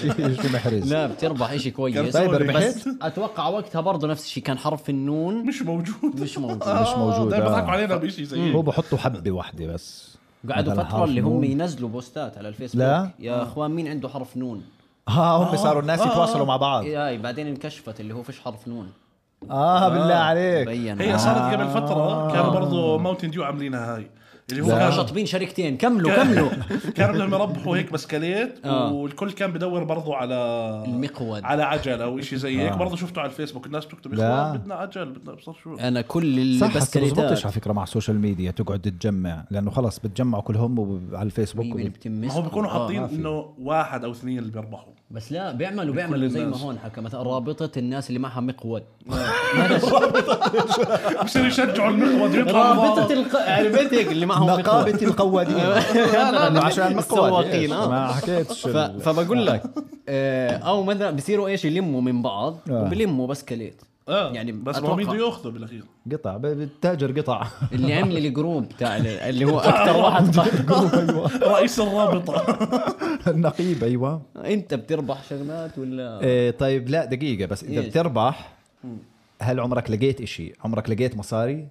Speaker 1: شيء محرز
Speaker 2: لا بتربح شيء كويس
Speaker 1: طيب،
Speaker 2: بس
Speaker 1: ربحت؟
Speaker 2: اتوقع وقتها برضه نفس الشيء كان حرف النون
Speaker 3: مش موجود (laughs)
Speaker 2: مش موجود
Speaker 1: مش موجود،
Speaker 3: دايما
Speaker 1: آه.
Speaker 3: بيضحكوا علينا بشيء زي
Speaker 1: هو
Speaker 3: هيك.
Speaker 1: بحطوا حبه واحده بس
Speaker 2: قعدوا
Speaker 1: مثلا
Speaker 2: فترة
Speaker 1: حرف
Speaker 2: اللي هم
Speaker 1: نون.
Speaker 2: ينزلوا بوستات على الفيسبوك
Speaker 1: لا.
Speaker 2: يا اخوان مين عنده حرف نون؟
Speaker 1: ها هم صاروا الناس
Speaker 2: آه.
Speaker 1: يتواصلوا مع بعض
Speaker 2: هاي بعدين انكشفت اللي هو فيش حرف نون
Speaker 1: اه بالله
Speaker 2: آه.
Speaker 1: عليك
Speaker 2: بين
Speaker 3: هي صارت قبل فتره كانوا برضه ماونتن ديو عاملينها هاي اللي هو
Speaker 2: هم
Speaker 3: كان
Speaker 2: شاطبين شركتين كملوا (laughs) كملوا
Speaker 3: (laughs) كانوا بدهم يربحوا هيك بسكليت
Speaker 2: آه.
Speaker 3: والكل كان بدور برضه على
Speaker 2: المقود.
Speaker 3: على عجل او شيء زي هيك برضه شفته على الفيسبوك الناس بتكتب يا
Speaker 1: لا.
Speaker 3: اخوان بدنا عجل بدنا ابصر شو
Speaker 2: انا كل اللي
Speaker 1: صح بس بزبطش
Speaker 2: بسكليتات
Speaker 1: على فكره مع السوشيال ميديا تقعد تجمع لانه خلص بتجمعوا كلهم وب- على الفيسبوك
Speaker 2: مين
Speaker 1: وب-
Speaker 2: إيه، بتمس
Speaker 3: ما هو بيكونوا
Speaker 2: آه،
Speaker 3: حاطين
Speaker 1: ما في.
Speaker 3: انه واحد او اثنين اللي بيربحوا
Speaker 2: بس لا بيعملوا بيعملوا زي ما
Speaker 3: الناس.
Speaker 2: هون حكى مثلا رابطه الناس اللي معها مقود
Speaker 3: بصيروا يشجعوا المقود يطلع إيه،
Speaker 2: رابطه الق... عرفت هيك اللي معهم
Speaker 1: نقابه القوادين
Speaker 2: (laughs)
Speaker 1: (laughs)
Speaker 2: لا،
Speaker 1: عشان
Speaker 2: السواقين،
Speaker 1: القوادين
Speaker 2: آه.
Speaker 1: ما حكيتش
Speaker 2: ف...
Speaker 1: ال-
Speaker 2: فبقول لك آه، او مثلا بصيروا ايش يلموا من بعض
Speaker 1: آه.
Speaker 2: بلموا بس كليت
Speaker 3: آه.
Speaker 2: يعني
Speaker 3: يعني بس
Speaker 2: أتوقع.
Speaker 3: ما بده ياخذه بالاخير
Speaker 1: قطع ب- بتاجر قطع (laughs)
Speaker 2: اللي عمل الجروب تاع ال- اللي هو اكثر واحد قهر.
Speaker 1: ايوه
Speaker 3: (laughs) رئيس الرابطه
Speaker 1: النقيب ايوه
Speaker 2: انت بتربح شغلات ولا
Speaker 1: إيه طيب لا دقيقة بس إذا
Speaker 2: إيش؟
Speaker 1: بتربح هل عمرك لقيت إشي؟ عمرك لقيت مصاري؟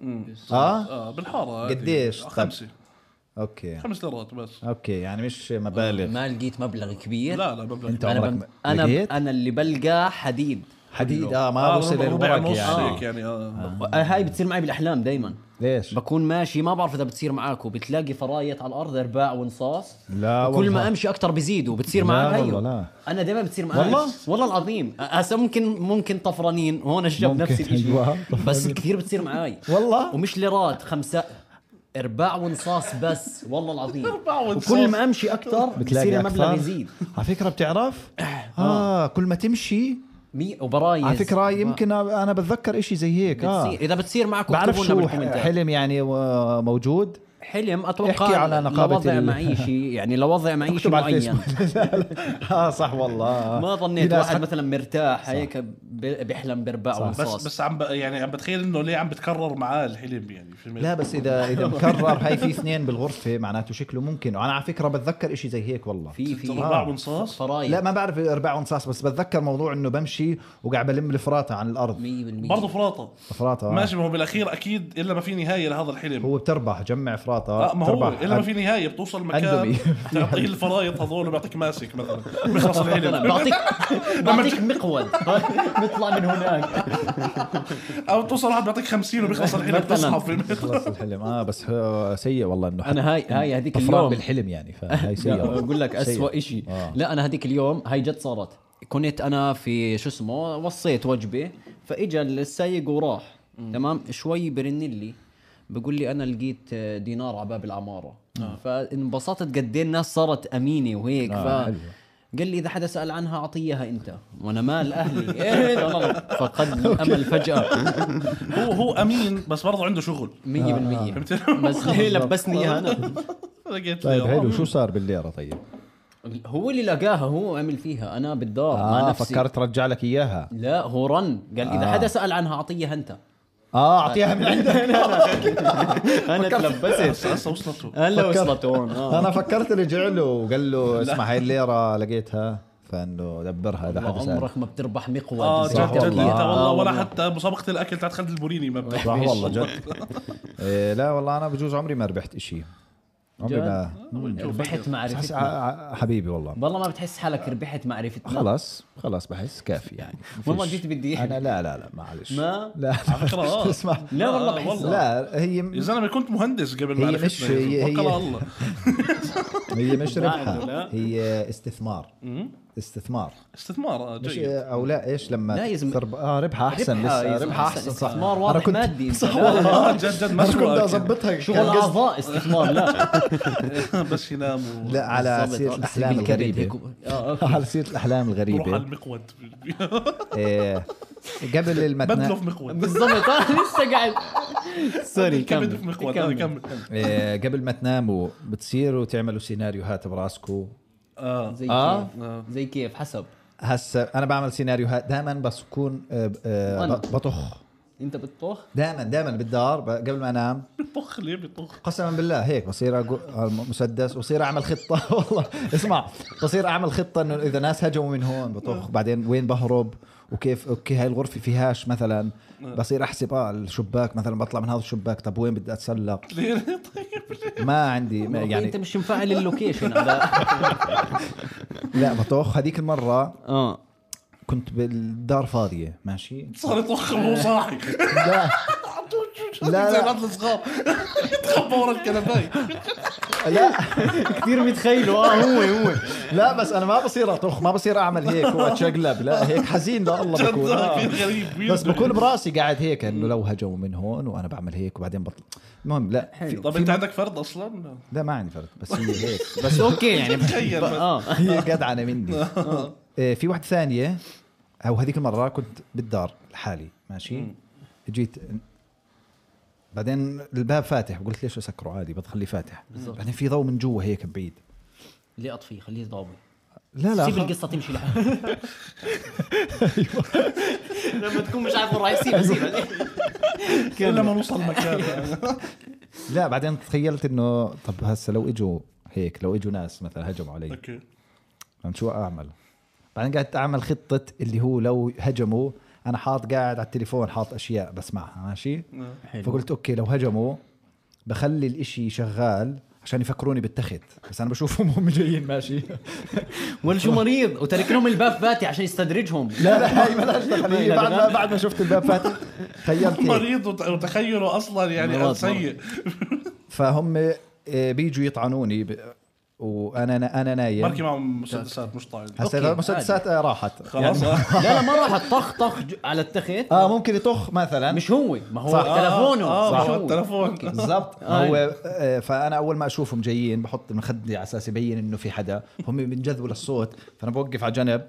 Speaker 1: آه؟
Speaker 3: اه بالحاره هذه.
Speaker 1: قديش؟ طيب. طب.
Speaker 3: خمسه
Speaker 1: أوكي
Speaker 3: خمس ليرات بس
Speaker 1: أوكي يعني مش مبالغ
Speaker 2: ما لقيت مبلغ كبير
Speaker 3: لا لا مبلغ
Speaker 1: أنت
Speaker 2: انا
Speaker 1: عمرك
Speaker 2: بم...
Speaker 1: ما-
Speaker 2: انا
Speaker 1: لقيت؟
Speaker 2: انا اللي بلقاه حديد
Speaker 1: حديد آه ما
Speaker 3: آه،
Speaker 1: بوصل
Speaker 3: ربع- ربع
Speaker 1: الورق
Speaker 3: نص هيك
Speaker 1: يعني
Speaker 3: يعني آه.
Speaker 2: هاي بتصير معي بالاحلام دايما
Speaker 1: ليش؟
Speaker 2: بكون ماشي ما بعرف اذا بتصير معاكم بتلاقي فرايط على الارض ارباع ونصاص
Speaker 1: لا
Speaker 2: كل
Speaker 1: والله.
Speaker 2: ما امشي اكثر بزيدوا بتصير
Speaker 1: لا
Speaker 2: معي
Speaker 1: والله لا.
Speaker 2: انا دائما بتصير معي
Speaker 1: والله؟
Speaker 2: والله العظيم هسه ممكن ممكن طفرانين هون الشاب
Speaker 1: ممكن،
Speaker 2: نفس الشيء
Speaker 1: أيوة،
Speaker 2: بس كثير بتصير معي
Speaker 1: والله؟
Speaker 2: ومش ليرات خمسة ارباع ونصاص بس والله العظيم
Speaker 3: أرباع ونصاص.
Speaker 2: وكل ما امشي اكثر بصير المبلغ
Speaker 1: أكثر؟
Speaker 2: يزيد
Speaker 1: على فكرة
Speaker 2: (laughs)
Speaker 1: بتعرف؟ آه كل ما تمشي
Speaker 2: مي وبرايز
Speaker 1: على فكرة آه، يمكن أنا بتذكر إشي زي هيك آه
Speaker 2: بتصير. اذا بتصير معكم
Speaker 1: بعرف
Speaker 2: اكتبوا لنا
Speaker 1: شو
Speaker 2: بالكومنتات
Speaker 1: حلم يعني و- موجود
Speaker 2: حلم اتوقع
Speaker 1: احكي على نقابة
Speaker 2: لوضع
Speaker 1: ال-
Speaker 2: معيشي يعني لوضع
Speaker 1: (laughs)
Speaker 2: معيشي
Speaker 1: اكتب على
Speaker 2: معين
Speaker 1: (laughs) الفيسبوك اه صح والله
Speaker 2: ما
Speaker 1: في
Speaker 2: ظنيت
Speaker 1: ناس
Speaker 2: واحد مثلا مرتاح هيك ب- بيحلم برباع
Speaker 3: بس
Speaker 2: ونصاص
Speaker 3: بس عم ب... يعني عم بتخيل انه ليه عم بتكرر معاه الحلم يعني في
Speaker 1: لا بس اذا
Speaker 2: (laughs)
Speaker 1: اذا مكرر هاي في اثنين بالغرفه معناته شكله ممكن وانا على فكره بتذكر إشي زي هيك والله
Speaker 2: في في
Speaker 3: ارباع
Speaker 1: آه.
Speaker 3: ونصاص
Speaker 2: فرايد
Speaker 1: لا ما بعرف ارباع ونصاص بس بتذكر موضوع انه بمشي وقاعد بلم الفراطه عن الارض
Speaker 2: 100% (laughs)
Speaker 3: برضه فراطه
Speaker 1: فراطه آه.
Speaker 3: ماشي ما هو بالاخير اكيد الا ما في نهايه لهذا الحلم
Speaker 1: هو بتربح جمع فراطه
Speaker 3: اه ما هو
Speaker 1: بتربح
Speaker 3: الا ما في نهايه بتوصل مكان (laughs)
Speaker 1: أندومي.
Speaker 3: تعطيه الفرايط هذول وبيعطيك ماسك مثلا
Speaker 1: (laughs)
Speaker 3: بيخلص الحلم
Speaker 2: بعطيك
Speaker 3: (laughs)
Speaker 2: بعطيك مقود (laughs) بيطلع من هناك
Speaker 3: او بتوصل واحد بيعطيك 50 وبيخلص الحلم
Speaker 2: مثلاً.
Speaker 3: بتصحى
Speaker 1: (laughs)
Speaker 3: في
Speaker 1: خلص الحلم اه بس هو سيء والله انه حد
Speaker 2: انا هاي هاي هذيك
Speaker 1: طفران
Speaker 2: اليوم
Speaker 1: بالحلم يعني فهي
Speaker 2: لا، (laughs)
Speaker 1: سيئه والله.
Speaker 2: بقول لك
Speaker 1: سيئة.
Speaker 2: اسوء شيء
Speaker 1: آه.
Speaker 2: لا انا هذيك اليوم هاي جد صارت كنت انا في شو اسمه وصيت وجبه فاجا السايق وراح تمام شوي برن لي بقول لي انا لقيت دينار على باب العماره فانبسطت قد ايه الناس صارت امينه وهيك
Speaker 1: آه،
Speaker 2: ف
Speaker 1: حلوة.
Speaker 2: قال لي اذا حدا سال عنها اعطيها انت وانا مال اهلي (laughs) إيه، لا، لا، لا. فقد الامل فجاه
Speaker 1: آه.
Speaker 3: هو هو امين بس برضه عنده شغل
Speaker 1: آه.
Speaker 3: (laughs)
Speaker 2: 100%
Speaker 1: (laughs)
Speaker 2: بس ليه لبسني اياها انا
Speaker 3: لقيت
Speaker 1: طيب
Speaker 3: ليه.
Speaker 1: حلو شو صار بالليره طيب؟
Speaker 2: هو اللي لقاها هو عمل فيها انا بالدار مع
Speaker 1: اه
Speaker 2: نفسي
Speaker 1: فكرت رجع لك اياها
Speaker 2: لا هو رن قال اذا
Speaker 1: آه.
Speaker 2: حدا سال عنها اعطيها انت آه،
Speaker 1: اه اعطيها من (laughs) عندك
Speaker 2: انا تلبست
Speaker 3: هسه وصلته
Speaker 2: هلا
Speaker 1: فكرت.
Speaker 2: وصلت هون آه.
Speaker 1: انا فكرت رجع له وقال له اسمع هاي الليره لقيتها فانه دبرها اذا حد
Speaker 2: والله
Speaker 1: سال
Speaker 2: عمرك ما بتربح مقود
Speaker 3: اه
Speaker 2: إذا
Speaker 1: صح
Speaker 3: جد جد
Speaker 1: والله.
Speaker 3: انت
Speaker 2: تربية.
Speaker 3: والله
Speaker 2: آه،
Speaker 3: ولا حتى مسابقه الاكل تاعت خالد البوريني ما بتحبش
Speaker 1: صح (laughs) والله جد (laughs) إيه لا والله انا بجوز عمري ما ربحت إشي عمري
Speaker 2: جد؟
Speaker 1: ما
Speaker 2: ربحت
Speaker 1: بحس ع-
Speaker 2: معرفتنا
Speaker 1: ع- حبيبي والله
Speaker 2: والله ما بتحس حالك ربحت معرفتنا
Speaker 1: خلاص خلاص بحس كافي يعني مفيش.
Speaker 2: (laughs) والله جيت بدي أحلف.
Speaker 1: انا لا لا لا معلش
Speaker 2: ما؟
Speaker 1: لا (laughs)
Speaker 3: على فكرة، آه.
Speaker 1: اسمع
Speaker 2: لا والله
Speaker 3: آه،
Speaker 2: بحس لا
Speaker 1: لا هي
Speaker 3: يا
Speaker 1: م-
Speaker 3: زلمه كنت مهندس قبل ما
Speaker 1: هي
Speaker 3: عرفتنا
Speaker 1: مش-
Speaker 3: يا زلمة.
Speaker 1: هي-
Speaker 3: توكل
Speaker 1: هي-
Speaker 3: على الله
Speaker 1: هي مش ربحة
Speaker 2: لا.
Speaker 1: هي استثمار استثمار
Speaker 3: استثمار آه،
Speaker 1: مش
Speaker 3: (laughs) جيد
Speaker 1: او لا ايش لما
Speaker 2: لا يا زلمة.
Speaker 1: ترب... اه ربحة احسن لسه ربحة احسن صح
Speaker 2: استثمار
Speaker 1: أنا
Speaker 2: واضح
Speaker 1: كنت-
Speaker 2: مادي أنت.
Speaker 1: صح يعني
Speaker 2: لا،
Speaker 1: والله
Speaker 3: آه، جد جد
Speaker 1: انا كنت بدي
Speaker 3: مسروقه
Speaker 1: اضبطها
Speaker 2: شغل اعضاء استثمار لا
Speaker 3: (laughs) بس ينام و-
Speaker 1: لا (laughs) على
Speaker 2: بالضبط.
Speaker 1: سيرة
Speaker 2: آه،
Speaker 1: الاحلام
Speaker 2: بالكبد هيك
Speaker 1: الغريبة
Speaker 2: و- آه، أوكي.
Speaker 1: (laughs) على سيرة الاحلام
Speaker 3: بروح على
Speaker 1: الغريبة
Speaker 3: المقود
Speaker 1: (laughs) إيه، قبل
Speaker 2: (laughs)
Speaker 3: بدله
Speaker 1: المتنة
Speaker 3: في مقود
Speaker 2: بالضبط آه، لسه قاعد سوري
Speaker 3: كبد في
Speaker 2: كمل
Speaker 3: مقود آه، كمل
Speaker 1: إيه، قبل ما تناموا بتصيروا تعملوا سيناريوهات براسكم
Speaker 3: اه
Speaker 2: زي
Speaker 1: آه.
Speaker 2: كيف زي كيف حسب
Speaker 1: هسه انا بعمل سيناريوهات دائما بس بكون آه، آه،
Speaker 2: وأنا.
Speaker 1: بطخ
Speaker 2: انت بتطبخ
Speaker 1: دائما دائما بالدار ب- قبل ما انام
Speaker 3: بيطخ ليه بيطخ
Speaker 1: قسما بالله هيك بصير اقول مسدس وصير اعمل خطه (laughs) والله اسمع بصير اعمل خطه انه اذا ناس هجموا من هون بطخ بعدين وين بهرب وكيف اوكي هاي الغرفه فيهاش مثلا بصير احسب اه الشباك مثلا بطلع من هذا الشباك طب وين بدي اتسلق
Speaker 3: ليه
Speaker 1: ما عندي
Speaker 2: (laughs)
Speaker 1: ما
Speaker 2: يعني
Speaker 1: يعني
Speaker 2: انت مش مفعل اللوكيشن على
Speaker 1: لا بطخ هذيك المره
Speaker 2: اه
Speaker 1: كنت بالدار فاضيه ماشي
Speaker 3: صار يطخ وهو صاحي (laughs)
Speaker 1: لا لا.
Speaker 3: زي العيال الصغار يتخبى ورا الكنبايه
Speaker 1: لا آه،
Speaker 2: كثير متخيله اه هو هو
Speaker 1: لا بس انا ما بصير اطخ ما بصير اعمل هيك واتشقلب لا هيك حزين لا الله
Speaker 3: جد
Speaker 1: بكون آه.
Speaker 3: كثير غريب
Speaker 1: بس بكون براسي قاعد هيك انه لو هجموا من هون وانا بعمل هيك وبعدين بطلع المهم لا في
Speaker 3: طب انت عندك فرد اصلا؟
Speaker 1: لا ما عندي فرد بس هي هيك
Speaker 2: (laughs) بس اوكي يعني (laughs)
Speaker 3: تخيل بس.
Speaker 2: اه
Speaker 1: (laughs) هي جدعنه
Speaker 2: (laughs)
Speaker 1: مني إيه، في واحده ثانيه او هذيك المره كنت بالدار لحالي ماشي جيت بعدين الباب فاتح قلت ليش اسكره عادي بتخليه فاتح
Speaker 2: بالضبط.
Speaker 1: بعدين في ضوء من جوا هيك بعيد
Speaker 2: ليه اطفيه خليه ضابي
Speaker 1: لا لا
Speaker 2: سيب
Speaker 1: خ-
Speaker 2: القصه تمشي (laughs) لحالها لما تكون مش عارف وين راح يصير (laughs) سيبها
Speaker 3: الا ما نوصل مكان
Speaker 1: لا بعدين تخيلت انه طب هسه لو اجوا هيك لو اجوا ناس مثلا هجموا علي
Speaker 3: اوكي
Speaker 1: فهمت شو اعمل بعدين قعدت اعمل خطه اللي هو لو هجموا انا حاط قاعد على التليفون حاط اشياء بسمعها ماشي فقلت اوكي لو هجموا بخلي الاشي شغال عشان يفكروني بالتخت بس انا بشوفهم هم جايين ماشي
Speaker 2: ولا شو مريض وترك لهم الباب فاتح عشان يستدرجهم
Speaker 1: (laughs) لا لا هاي مالهاش (laughs) دخل يعني بعد ما بعد ما شفت الباب (laughs) فاتح تخيلت هيك.
Speaker 3: مريض وت- وتخيله اصلا
Speaker 2: مرض،
Speaker 3: يعني
Speaker 2: مرض.
Speaker 3: سيء
Speaker 1: فهم آه، بيجوا يطعنوني ب... وانا انا
Speaker 3: بركي
Speaker 1: نايم
Speaker 3: معهم مسدسات مش طايل
Speaker 1: هسه
Speaker 2: أوكي،
Speaker 1: المسدسات آه، راحت (laughs)
Speaker 3: خلاص
Speaker 1: يعني
Speaker 3: آه.
Speaker 2: لا لا ما راح طخ طخ ج- على التخت
Speaker 1: اه ممكن يطخ مثلا
Speaker 2: مش هو ما هو
Speaker 1: صح.
Speaker 2: تلفونه
Speaker 3: آه،
Speaker 2: مش
Speaker 3: آه،
Speaker 2: هو.
Speaker 3: التلفون.
Speaker 2: أوكي.
Speaker 3: (laughs)
Speaker 1: بالضبط
Speaker 2: آه.
Speaker 1: هو آه، فانا اول ما اشوفهم جايين بحط مخدي على اساس يبين انه في حدا هم بينجذبوا للصوت فانا بوقف على جنب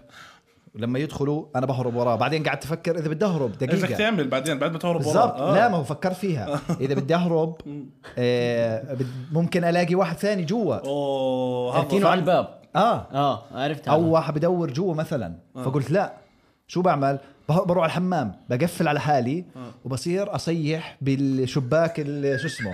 Speaker 1: لما يدخلوا انا بهرب وراه بعدين قعدت افكر اذا بدي اهرب
Speaker 3: بدك
Speaker 1: دقيقه
Speaker 3: تعمل بعدين بعد ما تهرب وراه
Speaker 1: بالضبط
Speaker 3: آه.
Speaker 1: لا ما هو فكر
Speaker 3: (laughs)
Speaker 1: فيها اذا بدي اهرب آه، بد- ممكن الاقي واحد ثاني جوا إيه.
Speaker 3: اوه
Speaker 2: تركينه على الباب
Speaker 1: اه
Speaker 2: اه عرفت
Speaker 1: او واحد بدور جوا مثلا
Speaker 3: آه.
Speaker 1: فقلت لا شو بعمل بح- بروح على الحمام بقفل على حالي
Speaker 3: آه.
Speaker 1: وبصير اصيح بالشباك ال- شو اسمه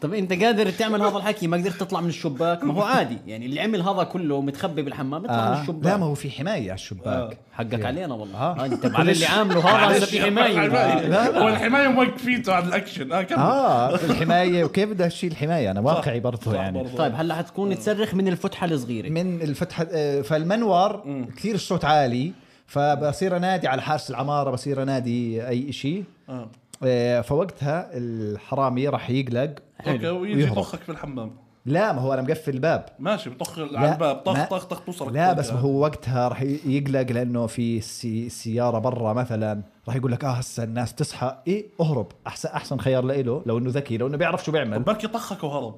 Speaker 2: طب انت قادر تعمل هذا الحكي ما قدرت تطلع من الشباك ما هو عادي يعني اللي عمل هذا كله متخبي بالحمام يطلع من
Speaker 1: آه. لا ما
Speaker 2: الشباك آه.
Speaker 1: هو في حمايه على الشباك
Speaker 2: حقك علينا والله
Speaker 1: آه.
Speaker 2: آه، انت على اللي عامله هذا هسه في
Speaker 3: (laughs)
Speaker 2: (laughs) حمايه
Speaker 1: لا، لا.
Speaker 3: والحمايه موقفيته على الاكشن اه كمل
Speaker 1: اه الحمايه وكيف بدي اشيل الحمايه انا واقعي برضه
Speaker 3: صح
Speaker 1: يعني
Speaker 3: برضه.
Speaker 2: طيب هلا حتكون تصرخ من الفتحه الصغيره
Speaker 1: من الفتحه آه، فالمنور كثير الصوت عالي فبصير انادي على حارس العماره بصير انادي اي شيء
Speaker 3: آه.
Speaker 1: فوقتها الحرامي راح يقلق
Speaker 3: اوكي ويجي
Speaker 1: ويهرب.
Speaker 3: يطخك بالحمام
Speaker 1: لا ما هو انا مقفل الباب
Speaker 3: ماشي بطخ على
Speaker 1: لا،
Speaker 3: الباب طخ
Speaker 1: ما-
Speaker 3: طخ طخ توصلك
Speaker 1: لا بس هو وقتها راح ي- يقلق لانه في السي- السياره برا مثلا راح يقول لك اه هسه الناس تصحى ايه اهرب احسن احسن خيار لإله لو انه ذكي لو انه بيعرف شو بيعمل
Speaker 3: بركي طخك وهرب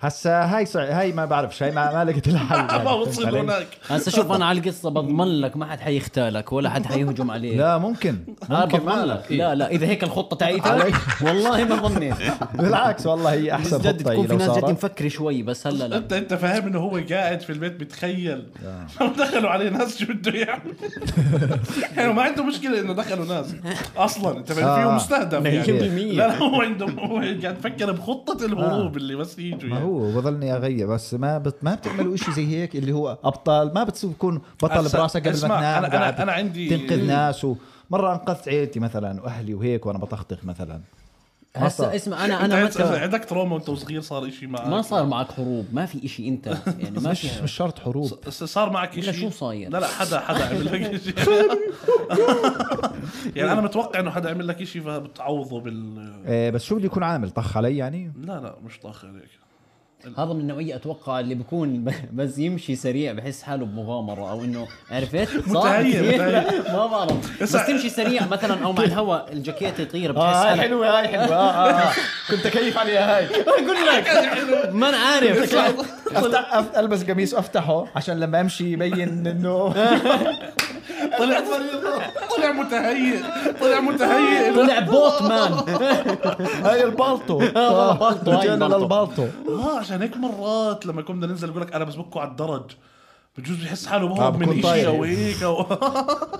Speaker 1: هسه هاي صع... هاي ما بعرفش هاي ما, ما لقيت
Speaker 3: (laughs)
Speaker 1: الحل يعني.
Speaker 3: ما وصل
Speaker 1: فهمت علي؟
Speaker 3: هناك
Speaker 2: هسه شوف انا على القصه بضمن لك ما حد حيختالك ولا حد حيهجم عليك
Speaker 1: لا ممكن (laughs)
Speaker 2: آه
Speaker 1: ممكن
Speaker 2: بضمن
Speaker 1: ما
Speaker 2: لك لا لا اذا هيك الخطه تعيتك
Speaker 1: علي.
Speaker 2: والله ما
Speaker 1: (laughs)
Speaker 2: ظنيت
Speaker 1: بالعكس والله (laughs) هي احسن
Speaker 2: جد
Speaker 1: خطه هي
Speaker 2: تكون في
Speaker 1: لو
Speaker 2: ناس جد
Speaker 1: صارت أه،
Speaker 2: مفكره شوي بس هلا لا
Speaker 3: انت انت فاهم انه هو قاعد في البيت بيتخيل
Speaker 1: آه.
Speaker 3: لو (laughs) دخلوا عليه ناس شو بده
Speaker 1: (laughs)
Speaker 3: يعمل يعني ما عنده مشكله انه دخلوا ناس اصلا انت فاهم فيه
Speaker 1: آه.
Speaker 3: مستهدف يعني
Speaker 2: 100%.
Speaker 3: لا لا هو عنده هو قاعد يفكر بخطه الهروب اللي بس يجوا
Speaker 1: آه. ما
Speaker 3: يعني.
Speaker 1: هو بضلني اغير بس ما بت... ما بتعملوا إشي زي هيك اللي هو ابطال ما بتكون بطل
Speaker 3: هسا-
Speaker 1: براسك قبل ما
Speaker 3: اسمع،
Speaker 1: تنام
Speaker 3: أنا- أنا-
Speaker 1: وقاعد
Speaker 3: أنا عندي-
Speaker 1: تنقذ ناس ومره انقذت عيلتي مثلا واهلي وهيك وانا بطخطخ مثلا
Speaker 2: هسه اسمع انا
Speaker 3: انت
Speaker 2: انا
Speaker 3: عندك-
Speaker 2: متى
Speaker 3: عندك تروما وانت صغير صار شيء معك
Speaker 2: ما صار معك حروب ما في إشي انت يعني ما
Speaker 1: مش
Speaker 2: في
Speaker 1: مش شرط حروب
Speaker 3: بس صار معك شيء
Speaker 2: لا، شو صاير؟
Speaker 3: لا لا حدا حدا
Speaker 2: (laughs)
Speaker 3: عمل لك شيء (laughs) يعني انا متوقع انه حدا عمل لك شيء فبتعوضه بال
Speaker 1: آه، بس شو بده يكون عامل طخ علي يعني
Speaker 3: لا لا مش طاخ عليك
Speaker 2: هذا من النوعيه اتوقع اللي بكون ب- بس يمشي سريع بحس حاله بمغامره او انه
Speaker 1: (laughs)
Speaker 2: عرفت صح
Speaker 3: متهيأ،
Speaker 2: (laughs) كثير؟
Speaker 3: متهيأ.
Speaker 2: ما بعرف بس
Speaker 3: اسمع.
Speaker 2: تمشي سريع مثلا او مع الهواء الجاكيت يطير بتحس حالك
Speaker 1: آه، هاي حلوه آه (laughs) آه. كنت اكيف عليها هاي
Speaker 2: اقول لك (laughs) ما انا عارف
Speaker 1: أفتح- أف- البس قميص وافتحه عشان لما امشي يبين انه
Speaker 3: طلع طلع متهيئ طلع متهيئ إنه-
Speaker 2: طلع بوت مان
Speaker 1: هاي
Speaker 3: (laughs)
Speaker 1: البالطو
Speaker 2: آه، البالطو، هاي
Speaker 1: رجعنا
Speaker 2: البالطو.
Speaker 1: للبالطو
Speaker 3: اه عشان هيك مرات لما كنا ننزل يقول لك انا بسبكوا على الدرج بجوز بحس حاله
Speaker 1: آه،
Speaker 3: بهرب
Speaker 1: بكون
Speaker 3: من شيء
Speaker 1: طاير.
Speaker 3: او هيك او
Speaker 1: (laughs)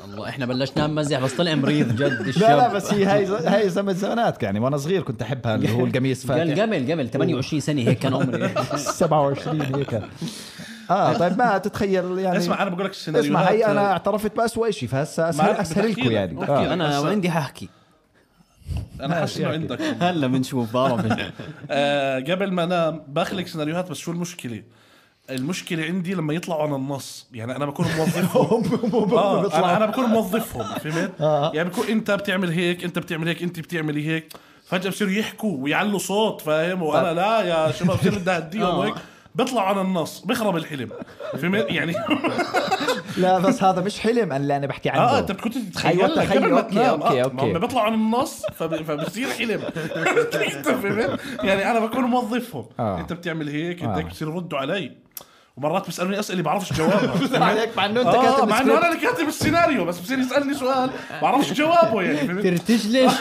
Speaker 2: والله احنا بلشنا نمزح بس طلع مريض جد الشاب
Speaker 1: لا لا بس هي هاي هاي زمن زمانات يعني وانا صغير كنت احبها اللي هو
Speaker 3: (laughs)
Speaker 1: القميص
Speaker 2: قال
Speaker 1: فاتح
Speaker 2: قبل قبل 28 سنه هيك كان
Speaker 1: (laughs)
Speaker 2: عمري
Speaker 1: 27 هيك
Speaker 3: (laughs)
Speaker 1: اه طيب ما تتخيل يعني
Speaker 3: اسمع انا بقول لك السيناريوهات آه،
Speaker 1: اسمع هي انا اعترفت باسوء شيء فهسه اسهل
Speaker 3: ما-
Speaker 1: اسهل
Speaker 3: بتحكي
Speaker 1: لكم
Speaker 3: لك،
Speaker 1: يعني
Speaker 3: بحكي
Speaker 1: آه.
Speaker 3: لك.
Speaker 2: انا
Speaker 3: بس-
Speaker 2: عندي ححكي
Speaker 3: انا حاسس انه
Speaker 1: ماشي،
Speaker 3: عندك
Speaker 2: هلا بنشوف بعرف
Speaker 3: آه قبل ما انام باخلق سيناريوهات بس شو المشكله؟ المشكله عندي لما يطلعوا عن النص يعني انا بكون موظفهم آه أنا- انا بكون موظفهم فهمت؟
Speaker 1: آه.
Speaker 3: يعني بكون انت بتعمل هيك انت بتعمل هيك انت بتعملي هيك فجاه بصيروا يحكوا ويعلوا صوت فاهم وانا
Speaker 1: طيب.
Speaker 3: لا يا شباب بصير بدي
Speaker 1: (laughs)
Speaker 3: اهديهم
Speaker 2: آه.
Speaker 3: وهيك بيطلعوا عن النص بخرب الحلم فهمت يعني (laughs)
Speaker 1: لا بس هذا مش حلم أنا اللي انا بحكي عنه
Speaker 3: اه انت كنت تتخيل
Speaker 1: أيوة، تخيل.
Speaker 3: قبل ما
Speaker 1: أوكي،
Speaker 3: تنام
Speaker 1: أوكي،
Speaker 3: آه،
Speaker 1: أوكي.
Speaker 3: ما هم بيطلعوا عن النص فب- فبصير حلم (laughs) أنت فهمت؟ يعني انا بكون موظفهم
Speaker 1: آه.
Speaker 3: انت بتعمل هيك انت
Speaker 1: آه.
Speaker 3: هيك بصير يردوا علي ومرات بيسالوني اسئله بعرفش
Speaker 1: (laughs)
Speaker 3: جوابها
Speaker 2: عليك مع انه انت
Speaker 3: آه
Speaker 2: كاتب
Speaker 3: مع انه انا
Speaker 2: سكريبت.
Speaker 3: اللي كاتب السيناريو بس بصير يسالني سؤال بعرفش
Speaker 1: (laughs)
Speaker 3: جوابه يعني فهمت؟
Speaker 2: ترتج ليش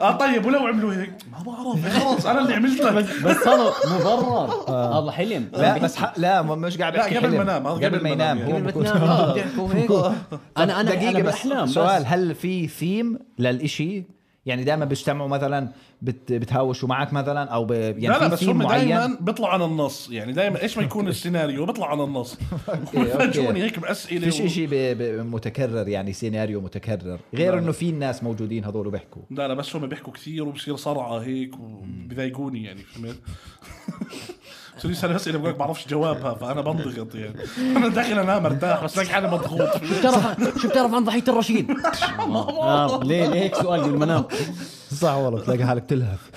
Speaker 3: اه طيب ولو عملوا هيك ما بعرف خلص انا اللي عملتك
Speaker 2: بس هذا مبرر هذا حلم
Speaker 1: آه. لا بس ح... لا ما- مش قاعد
Speaker 3: لا،
Speaker 1: بحكي
Speaker 3: قبل
Speaker 1: حلم.
Speaker 3: ما انام، هذا
Speaker 1: قبل ما ينام هو
Speaker 2: قبل ما
Speaker 1: بكون-
Speaker 2: تنام آه،
Speaker 1: (laughs)
Speaker 2: بتحكوا هيك انا انا
Speaker 1: دقيقة بس
Speaker 2: دقيقه بالاحلام بس
Speaker 1: سؤال هل في ثيم للإشي؟ يعني دائما بيجتمعوا مثلا بت بتهاوشوا معك مثلا او ب... يعني
Speaker 3: لا لا
Speaker 1: في
Speaker 3: بس
Speaker 1: theme
Speaker 3: هم
Speaker 1: معين
Speaker 3: دائما بيطلعوا عن النص يعني دائما ايش ما
Speaker 1: (laughs)
Speaker 3: يكون السيناريو بيطلعوا عن النص (laughs) فاجئوني هيك باسئله
Speaker 1: فيش
Speaker 3: و-
Speaker 1: إشي ب... ب... متكرر يعني سيناريو متكرر غير انه في ناس موجودين هذول بيحكوا
Speaker 3: لا لا بس هم بيحكوا كثير وبصير صرعه هيك وبيضايقوني يعني فهمت؟ (laughs) بصير يسأل اسئله بقول لك بعرفش جوابها فانا بنضغط يعني (laughs) انا داخل انام مرتاح بس لك حالي مضغوط
Speaker 2: شو بتعرف شو بتعرف عن ضحيه
Speaker 1: (laughs)
Speaker 2: الرشيد؟ آه، ليه ليه هيك سؤال بالمنام
Speaker 1: صح والله بتلاقي حالك
Speaker 3: (laughs)
Speaker 1: تلهف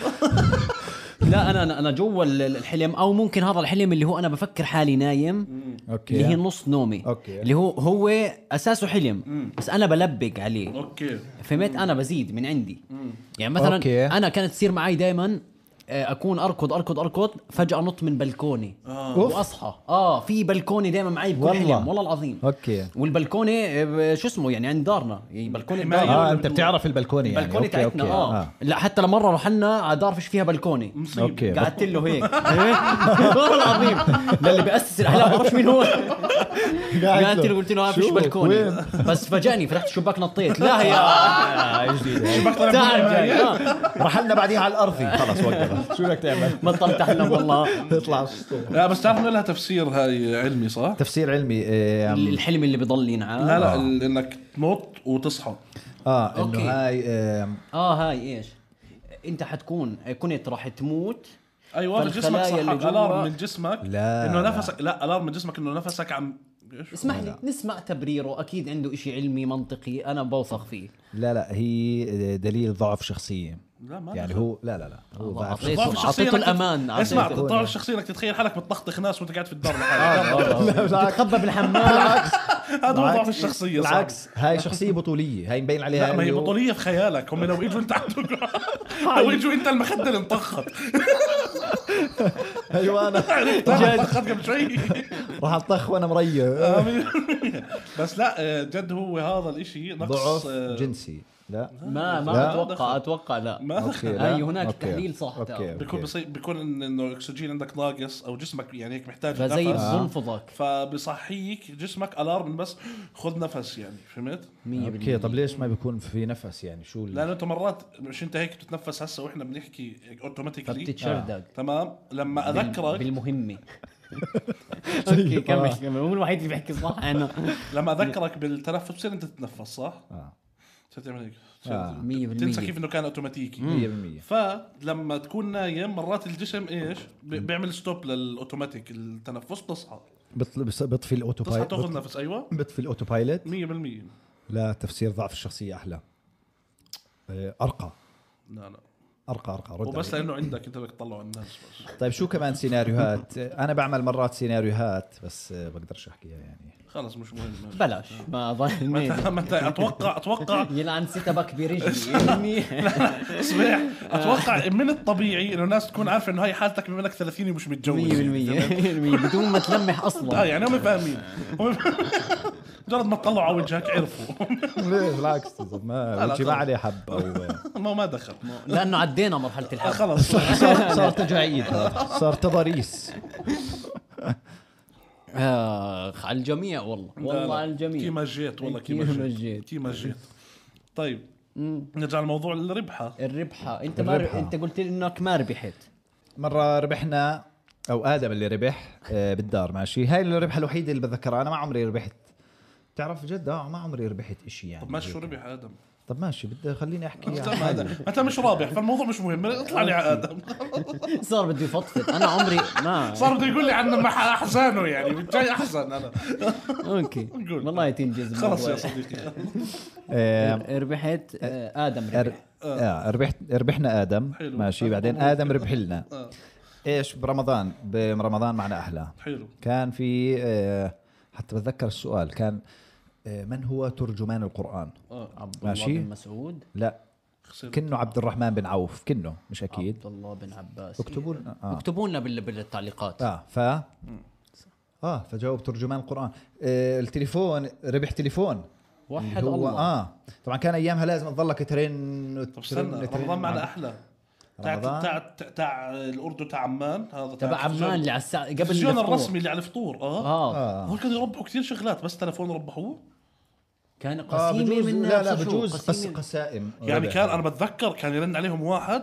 Speaker 2: لا انا انا انا جوا ال- الحلم او ممكن هذا الحلم اللي هو انا بفكر حالي نايم
Speaker 1: اوكي
Speaker 2: اللي هي نص نومي
Speaker 1: أوكي.
Speaker 2: اللي هو هو اساسه حلم بس انا بلبق عليه
Speaker 3: اوكي
Speaker 2: فهمت انا بزيد من عندي يعني مثلا
Speaker 1: أوكي.
Speaker 2: انا كانت تصير معي آه، دائما اكون اركض اركض اركض فجاه نط من بلكوني
Speaker 1: أوف.
Speaker 2: واصحى اه في بلكوني دائما معي بكل
Speaker 1: والله.
Speaker 2: حلم والله العظيم
Speaker 1: اوكي
Speaker 2: والبلكونه آه، شو اسمه يعني عند دارنا يعني بلكونه
Speaker 3: حماية.
Speaker 2: دارنا.
Speaker 1: اه انت بتعرف البلكونه يعني
Speaker 2: البلكونه
Speaker 1: أوكي،
Speaker 2: تاعتنا
Speaker 1: أوكي.
Speaker 3: آه.
Speaker 2: اه لا حتى لمره رحنا على دار فيش فيها بلكونه
Speaker 3: طيب،
Speaker 1: اوكي (laughs)
Speaker 2: قعدت له (laughs) هيك إيه؟ والله العظيم للي بياسس الاحلام بعرفش مين هو قعدت له قلت له ما فيش
Speaker 1: شو؟ وين؟
Speaker 2: بلكونه بس فجأني فتحت الشباك نطيت لا
Speaker 1: آه،
Speaker 2: يا
Speaker 3: (laughs) شباك طلع
Speaker 1: يعني.
Speaker 2: تعال
Speaker 3: مني (laughs)
Speaker 2: جاي
Speaker 3: معي.
Speaker 2: آه.
Speaker 1: رحلنا بعديها على الارضي خلص وقفت (laughs) آه. شو بدك تعمل؟
Speaker 2: بطلت احلم والله
Speaker 1: تطلع
Speaker 3: لا بس تعرف إنه لها تفسير هاي علمي صح؟
Speaker 1: تفسير علمي آم،
Speaker 2: الحلم اللي بضل ينعاد
Speaker 1: آه.
Speaker 3: لا لا ال- انك تنط وتصحى
Speaker 1: اه
Speaker 2: أوكي.
Speaker 1: انه هاي آم،
Speaker 2: اه هاي ايش انت حتكون كنت راح تموت
Speaker 3: ايوه جسمك
Speaker 2: فالخلايا
Speaker 3: صحى
Speaker 2: اللي جوا-
Speaker 3: الارم من جسمك
Speaker 1: لا،
Speaker 3: انه
Speaker 1: لا.
Speaker 3: نفسك لا الارم من جسمك انه نفسك عم إيش؟
Speaker 2: اسمح لي نسمع تبريره اكيد عنده إشي علمي منطقي انا بوثق فيه
Speaker 1: لا لا هي دليل ضعف شخصيه
Speaker 3: لا ما
Speaker 1: يعني هو لا لا لا هو
Speaker 2: الله،
Speaker 1: ضعف
Speaker 2: عطيته-
Speaker 1: شخصية.
Speaker 2: عطيته
Speaker 3: إنك تت-
Speaker 2: الامان
Speaker 3: اسمع
Speaker 2: عطيته.
Speaker 1: يعني.
Speaker 3: الضعف الشخصي انك تتخيل حالك بتطخطخ ناس وانت قاعد في الدار (laughs) لحالك
Speaker 2: تتخبى بالحمام
Speaker 3: هذا هو ضعف الشخصيه صح؟
Speaker 1: بالعكس يعني هاي شخصيه بطوليه هاي مبين عليها
Speaker 3: لا ما هي
Speaker 1: إنه- (laughs)
Speaker 3: بطوليه في خيالك هم لو اجوا انت عندك لو اجوا انت المخده اللي انطخت (laughs)
Speaker 1: ايوه انا
Speaker 3: انطخت يعني قبل
Speaker 1: (laughs)
Speaker 3: شوي
Speaker 1: راح انطخ وانا مريه
Speaker 3: بس لا آه، جد هو هذا الاشي نقص
Speaker 1: ضعف
Speaker 3: آه،
Speaker 1: جنسي
Speaker 3: (laughs)
Speaker 1: لا
Speaker 2: ما ما
Speaker 1: لا.
Speaker 2: اتوقع اتوقع لا
Speaker 3: ما
Speaker 1: أوكي، لا.
Speaker 2: هاي هناك
Speaker 1: أوكي.
Speaker 2: تحليل صح
Speaker 1: أوكي.
Speaker 2: تمام.
Speaker 3: بيكون بصير بيكون إن- انه الاكسجين عندك ناقص او جسمك يعني هيك محتاج
Speaker 2: فزي
Speaker 3: نفس
Speaker 2: بتنفضك
Speaker 3: فبصحيك جسمك الارم بس خذ نفس يعني فهمت؟
Speaker 2: 100%
Speaker 1: اوكي طب ليش ما بيكون في نفس يعني شو ال-
Speaker 3: لانه انت مرات مش انت هيك بتتنفس هسه واحنا بنحكي اوتوماتيكلي
Speaker 2: فبتتشردق
Speaker 3: تمام لما اذكرك
Speaker 2: بالمهمه اوكي كمل كمل هو الوحيد اللي بيحكي صح انا
Speaker 3: لما اذكرك بالتنفس بتصير انت تتنفس صح؟
Speaker 1: آه.
Speaker 3: بتصير تعمل هيك
Speaker 1: آه.
Speaker 2: مية بالمية.
Speaker 3: تنسى كيف انه كان اوتوماتيكي
Speaker 1: 100%
Speaker 3: فلما تكون نايم مرات الجسم ايش؟ بي- بيعمل ستوب للاوتوماتيك التنفس بتصحى
Speaker 1: بط- بص- بطفي الاوتو
Speaker 3: بتصحى تاخذ
Speaker 1: بايلوت
Speaker 3: نفس ايوه
Speaker 1: بطفي الاوتو بايلوت
Speaker 3: 100%
Speaker 1: لا تفسير ضعف الشخصيه احلى إيه، ارقى
Speaker 3: لا لا
Speaker 1: ارقى ارقى رد
Speaker 3: وبس
Speaker 1: علي.
Speaker 3: لانه عندك انت بدك تطلعه على الناس بس
Speaker 1: طيب شو كمان سيناريوهات انا بعمل مرات سيناريوهات بس آه، بقدرش احكيها يعني
Speaker 3: خلص مش مهم
Speaker 2: بلاش (laughs) ما ظن
Speaker 3: متى متى اتوقع اتوقع
Speaker 2: يلعن ستبك برجلي
Speaker 3: صبيح اتوقع من الطبيعي انه الناس تكون عارفه انه هاي حالتك بما انك 30 ومش
Speaker 2: 100% 100%
Speaker 3: متجوز
Speaker 2: بدون ما تلمح
Speaker 3: (laughs) اه
Speaker 2: اصلا
Speaker 3: يعني هم فاهمين هم مجرد ما تطلعوا على وجهك عرفوا
Speaker 1: (laughs) ليه بالعكس ما
Speaker 3: لا،
Speaker 1: وجهي ما
Speaker 3: خلص.
Speaker 1: عليه حب او
Speaker 3: ما ما دخل
Speaker 2: لانه عدينا مرحله
Speaker 3: آه،
Speaker 2: الحب
Speaker 3: خلص (laughs)
Speaker 1: صار صار تجاعيد صار تضاريس
Speaker 2: آخ آه، على الجميع والله والله على الجميع
Speaker 3: كيما جيت والله كيما
Speaker 2: كيما
Speaker 3: جيت
Speaker 2: جيت.
Speaker 3: كيما جيت طيب نرجع لموضوع الربحه
Speaker 2: الربحه انت ما
Speaker 1: الربحة.
Speaker 2: انت قلت لي انك ما ربحت
Speaker 1: مره ربحنا او ادم اللي ربح آه، بالدار ماشي هاي الربحه الوحيده اللي بتذكرها انا ما عمري ربحت تعرف جد اه ما عمري ربحت إشي يعني
Speaker 3: طب ماشي شو ربح ادم
Speaker 1: طب ماشي بدي خليني احكي
Speaker 3: (laughs) طب
Speaker 1: يعني
Speaker 3: هذا انت مش رابح فالموضوع مش مهم اطلع لي على ادم
Speaker 2: صار بده يفضفض انا عمري
Speaker 3: (laughs)
Speaker 2: ما
Speaker 3: صار بده يقول لي عن مح- احزانه يعني جاي احزن انا
Speaker 2: اوكي
Speaker 3: قول.
Speaker 2: والله تنجز
Speaker 3: خلص
Speaker 2: الموضوع.
Speaker 3: يا صديقي
Speaker 1: آه،
Speaker 2: ربحت آه، ادم
Speaker 1: أر...
Speaker 2: ربح
Speaker 1: آه ربحت ربحنا ادم
Speaker 3: حلو.
Speaker 1: ماشي بعدين
Speaker 3: مبروك.
Speaker 1: ادم ربح لنا
Speaker 3: آه.
Speaker 1: ايش برمضان برمضان معنا احلى
Speaker 3: حلو
Speaker 1: كان في آه، حتى بتذكر السؤال كان آه، من هو ترجمان القرآن؟
Speaker 3: اه
Speaker 2: عبد
Speaker 1: ماشي.
Speaker 2: الله بن مسعود
Speaker 1: لا
Speaker 3: خسر
Speaker 1: كنه عبد الرحمن بن عوف كنه مش اكيد
Speaker 3: آه.
Speaker 2: عبد الله بن عباس إيه.
Speaker 1: اكتبوا لنا آه.
Speaker 4: اكتبوا لنا بال- بالتعليقات
Speaker 1: اه ف اه فجاوب ترجمان القران آه التليفون ربح تليفون
Speaker 2: وحد
Speaker 1: اللي هو
Speaker 2: الله.
Speaker 1: اه طبعا كان ايامها لازم تضلك ترن
Speaker 3: طب استنى رمضان
Speaker 1: آه.
Speaker 3: معنا احلى تاع
Speaker 1: رمضان؟
Speaker 3: تاع تاع- تاع الاردن تاع عمان هذا
Speaker 2: تبع
Speaker 1: آه.
Speaker 2: عمان اللي على الساعه قبل
Speaker 3: التلفزيون
Speaker 2: الفطور.
Speaker 3: الرسمي اللي على الفطور اه
Speaker 2: اه
Speaker 1: آه.
Speaker 3: هو كانوا يربحوا كثير شغلات بس تلفون ربحوه
Speaker 2: كان
Speaker 1: اه
Speaker 2: قسيمه
Speaker 1: بجوز
Speaker 2: من
Speaker 1: لا لا
Speaker 2: شو؟
Speaker 1: بجوز قس
Speaker 2: قسيمة.
Speaker 1: قسائم
Speaker 3: يعني
Speaker 1: ربح.
Speaker 3: كان انا بتذكر كان يرن عليهم واحد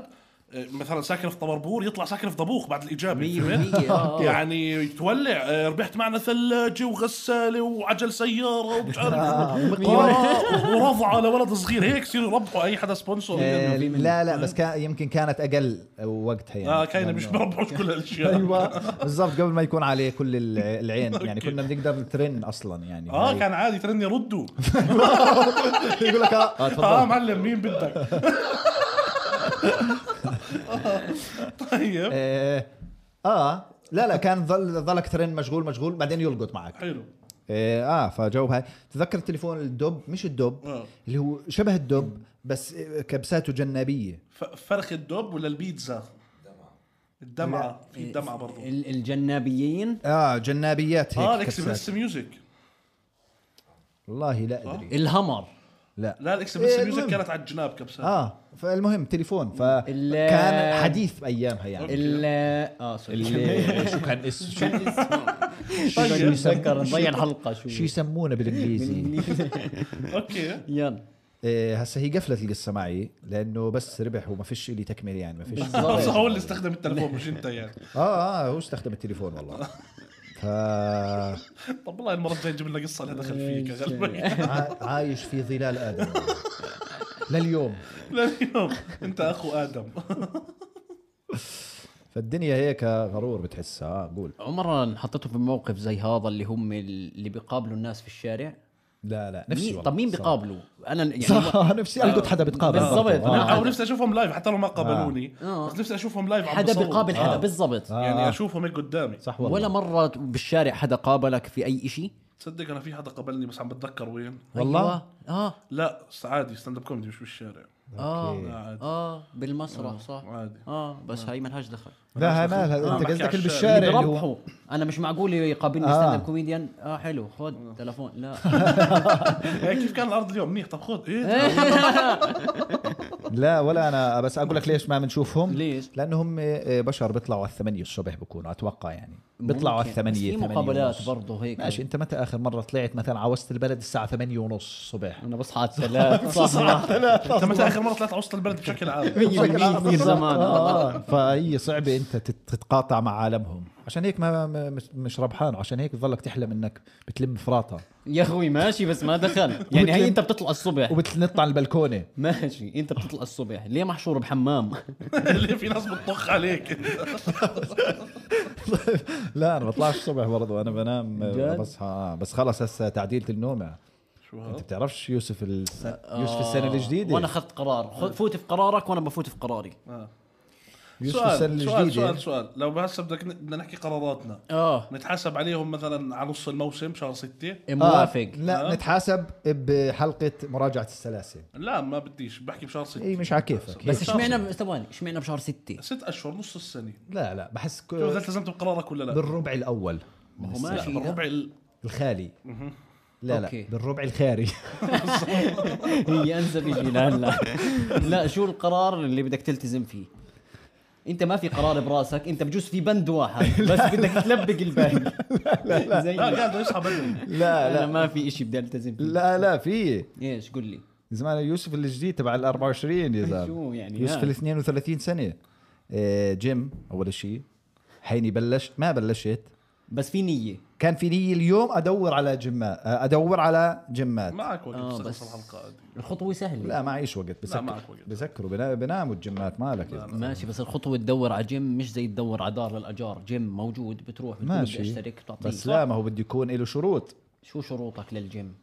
Speaker 3: آه، مثلا ساكن في طبربور يطلع ساكن في ضبوخ بعد الاجابه
Speaker 1: (laughs)
Speaker 2: 100% آه.
Speaker 3: يعني يتولع آه، ربحت معنا ثلاجه وغساله وعجل سياره ومش عارف
Speaker 2: (laughs)
Speaker 3: آه، ورضع على ولد صغير هيك يصيروا يربحوا اي حدا سبونسر
Speaker 1: آه، لا لا بس كان يمكن كانت اقل وقتها يعني
Speaker 3: اه كاينه مش
Speaker 1: لأنه-
Speaker 3: بربحوا كل الاشياء
Speaker 1: ايوه (laughs) بالضبط قبل ما يكون عليه كل ال- العين يعني كنا بنقدر نترن اصلا يعني
Speaker 3: اه كان عادي
Speaker 1: (laughs)
Speaker 3: ترن يردوا
Speaker 1: يقول لك آه،
Speaker 2: اه تفضل
Speaker 3: اه معلم مين بدك (laughs) آه، طيب
Speaker 1: اه اه لا لا كان ظل ظلك ترن مشغول مشغول بعدين يلقط معك
Speaker 3: حلو
Speaker 1: اه, آه فجاوب هاي تذكر التليفون الدب مش الدب
Speaker 3: آه.
Speaker 1: اللي هو شبه الدب بس آه، كبساته جنابيه
Speaker 3: ف- فرخ الدب ولا البيتزا الدمعه
Speaker 1: إيه،
Speaker 3: في دمعه برضه
Speaker 2: ال- الجنابيين
Speaker 1: اه جنابيات
Speaker 3: اه
Speaker 1: هيك
Speaker 3: الاكسبريس
Speaker 1: كبسات
Speaker 3: ميوزك
Speaker 1: والله لا
Speaker 3: آه.
Speaker 1: ادري
Speaker 2: الهمر
Speaker 1: لا
Speaker 3: لا الاكسبريس
Speaker 1: إيه،
Speaker 3: ميوزك
Speaker 1: المهم.
Speaker 3: كانت على الجناب كبسه
Speaker 1: اه فالمهم تليفون فكان حديث ايامها يعني
Speaker 2: ال اه سوري (laughs)
Speaker 1: ال- شو كان اسمه شو
Speaker 2: طيب نتذكر نضيع الحلقه شو
Speaker 1: شو يسمونه بالانجليزي
Speaker 3: اوكي
Speaker 2: (laughs) يلا
Speaker 1: إيه، هسه هي قفلت القصه معي لانه بس ربح وما فيش لي تكمله يعني ما فيش
Speaker 3: (laughs) بس هو اللي استخدم التليفون مش انت يعني
Speaker 1: اه اه هو استخدم التليفون والله ف
Speaker 3: طب والله المره الجايه نجيب لنا قصه لها دخل فيك
Speaker 1: إيه،
Speaker 3: غالبا
Speaker 1: ع- عايش في ظلال ادم لليوم
Speaker 3: لليوم انت اخو ادم
Speaker 1: فالدنيا هيك غرور بتحسها آه قول
Speaker 2: عمرا حطيته في موقف زي هذا اللي هم اللي بيقابلوا الناس في الشارع
Speaker 1: لا لا نفسي
Speaker 2: مين-
Speaker 1: والله.
Speaker 2: طب مين بيقابلوا؟ انا يعني
Speaker 1: صح آه، نفسي القط حدا بتقابل
Speaker 2: بالضبط.
Speaker 1: برضه. آه.
Speaker 2: أنا-
Speaker 3: (laughs) او نفسي اشوفهم لايف حتى لو ما قابلوني
Speaker 2: آه.
Speaker 3: بس نفسي اشوفهم لايف عم
Speaker 2: حدا
Speaker 3: بصور.
Speaker 2: بيقابل حدا
Speaker 1: آه.
Speaker 2: بالضبط
Speaker 1: آه.
Speaker 3: يعني اشوفهم هيك قدامي
Speaker 1: صح والله
Speaker 2: ولا مره بالشارع حدا قابلك في اي شيء
Speaker 3: تصدق انا في حدا قابلني بس عم بتذكر وين
Speaker 1: والله
Speaker 2: أيوة. اه
Speaker 3: لا بس عادي ستاند اب كوميدي مش بالشارع
Speaker 1: أوكي. آه.
Speaker 2: اه
Speaker 3: لا عادي
Speaker 2: اه بالمسرح صح
Speaker 3: عادي
Speaker 2: اه بس هاي ملهاش دخل
Speaker 1: لا هاي
Speaker 3: آه،
Speaker 1: مالها انت
Speaker 3: بحكي
Speaker 1: قصدك
Speaker 3: على
Speaker 1: اللي
Speaker 3: الشارع.
Speaker 1: بالشارع اللي هو
Speaker 2: بربحوا انا مش معقول يقابلني
Speaker 1: طيب، أيوة. آه.
Speaker 2: ستاند اب كوميديان اه حلو خد تلفون لا
Speaker 1: (laughs)
Speaker 3: إيه، كيف كان الارض اليوم منيح طب خذ ايه
Speaker 2: إيه.
Speaker 3: (laughs)
Speaker 1: لا ولا انا بس اقول لك ليش ما بنشوفهم
Speaker 2: ليش؟
Speaker 1: لانهم آه، بشر بيطلعوا على الثمانية الصبح بكونوا اتوقع يعني بيطلعوا على
Speaker 2: ممكن. بس
Speaker 1: الثمانية
Speaker 2: في
Speaker 1: ثمانية
Speaker 2: مقابلات
Speaker 1: ونص.
Speaker 2: برضه هيك
Speaker 1: ماشي انت متى اخر مرة طلعت مثلا على وسط البلد الساعة ثمانية ونص الصبح
Speaker 2: انا بصحى على
Speaker 1: (laughs)
Speaker 2: الثلاث صح
Speaker 3: انت
Speaker 2: آه.
Speaker 3: متى اخر مره طلعت على وسط البلد بشكل
Speaker 2: (laughs)
Speaker 3: عام
Speaker 2: من زمان
Speaker 1: آه فهي صعبة انت تت- تتقاطع مع عالمهم عشان هيك ما ما- مش- مش ربحان وعشان هيك بتضلك تحلم انك بتلم فراطة
Speaker 2: يا اخوي ماشي بس ما
Speaker 1: (laughs)
Speaker 2: دخل يعني هي انت بتطلع الصبح
Speaker 1: وبتنط على البلكونة
Speaker 2: ماشي انت بتطلع الصبح ليه محشور بحمام
Speaker 3: (laughs) اللي في ناس بتطخ عليك
Speaker 1: لا انا بطلعش الصبح برضو انا بنام آه،
Speaker 2: جد؟
Speaker 1: بصحى آه، بس خلص هسه تعديلة النومة
Speaker 3: شو
Speaker 1: انت
Speaker 3: هذا
Speaker 1: بتعرفش يوسف الس... يوسف السنة الجديدة
Speaker 2: (laughs)
Speaker 1: آه.
Speaker 2: وانا اخذت قرار خ- فوت في قرارك وانا بفوت في قراري
Speaker 3: آه.
Speaker 1: يوسف السنة
Speaker 3: سؤال
Speaker 1: الجديدة
Speaker 3: سؤال
Speaker 2: إيه.
Speaker 3: سؤال سؤال لو هسه بدك ن- بدنا نحكي قراراتنا
Speaker 1: آه.
Speaker 2: اه
Speaker 3: نتحاسب عليهم مثلا على نص الموسم شهر ستة
Speaker 2: موافق
Speaker 1: لا
Speaker 3: آه.
Speaker 1: نتحاسب بحلقة مراجعة السلاسل
Speaker 3: لا ما بديش بحكي بشهر ستة
Speaker 1: اي مش على كيفك
Speaker 2: بس
Speaker 1: بس
Speaker 2: اشمعنا ب- ثواني اشمعنا بشهر ستة
Speaker 3: ست اشهر نص السنه
Speaker 1: لا لا بحس ك...
Speaker 3: شوف اذا التزمت بقرارك ولا لا
Speaker 1: أه. بالربع الاول
Speaker 2: ما هو
Speaker 3: لا
Speaker 2: ماشي
Speaker 3: بالربع ال-
Speaker 1: الخالي لا لا
Speaker 2: أوكي.
Speaker 1: بالربع الخاري
Speaker 2: (laughs)
Speaker 1: (laughs)
Speaker 2: هي انسب شيء لهلا لا شو القرار اللي بدك تلتزم فيه انت ما في قرار براسك انت بجوز في بند واحد بس بدك تلبق الباقي لا لا زي
Speaker 3: لا قاعد يصحى بدري
Speaker 1: لا
Speaker 2: انا
Speaker 1: لا
Speaker 2: ما في شيء بدي التزم فيه
Speaker 1: لا لا في
Speaker 2: ايش قل لي
Speaker 1: زمان يوسف الجديد تبع ال 24 يا زلمه
Speaker 2: شو يعني
Speaker 1: يوسف
Speaker 2: ها؟
Speaker 1: ال 32 سنه آه، جيم اول شيء حيني بلشت ما بلشت
Speaker 2: بس في نيه
Speaker 1: كان في لي اليوم ادور على جيمات ادور على جيمات
Speaker 3: معك وقت
Speaker 2: آه،
Speaker 3: بس
Speaker 2: بس-
Speaker 3: أخلص الحلقه عادي
Speaker 2: الخطوه سهله
Speaker 1: لا معيش وقت بسكر
Speaker 3: معك وقت.
Speaker 1: بسكروا بنا- بناموا الجيمات مالك يا زلمة.
Speaker 2: ماشي بس الخطوه تدور على جيم مش زي تدور على دار للاجار جيم موجود بتروح بتقول بدي
Speaker 1: ماشي
Speaker 2: اشترك بتعطيه
Speaker 1: بس لا ما هو بده يكون له شروط
Speaker 2: شو شروطك للجيم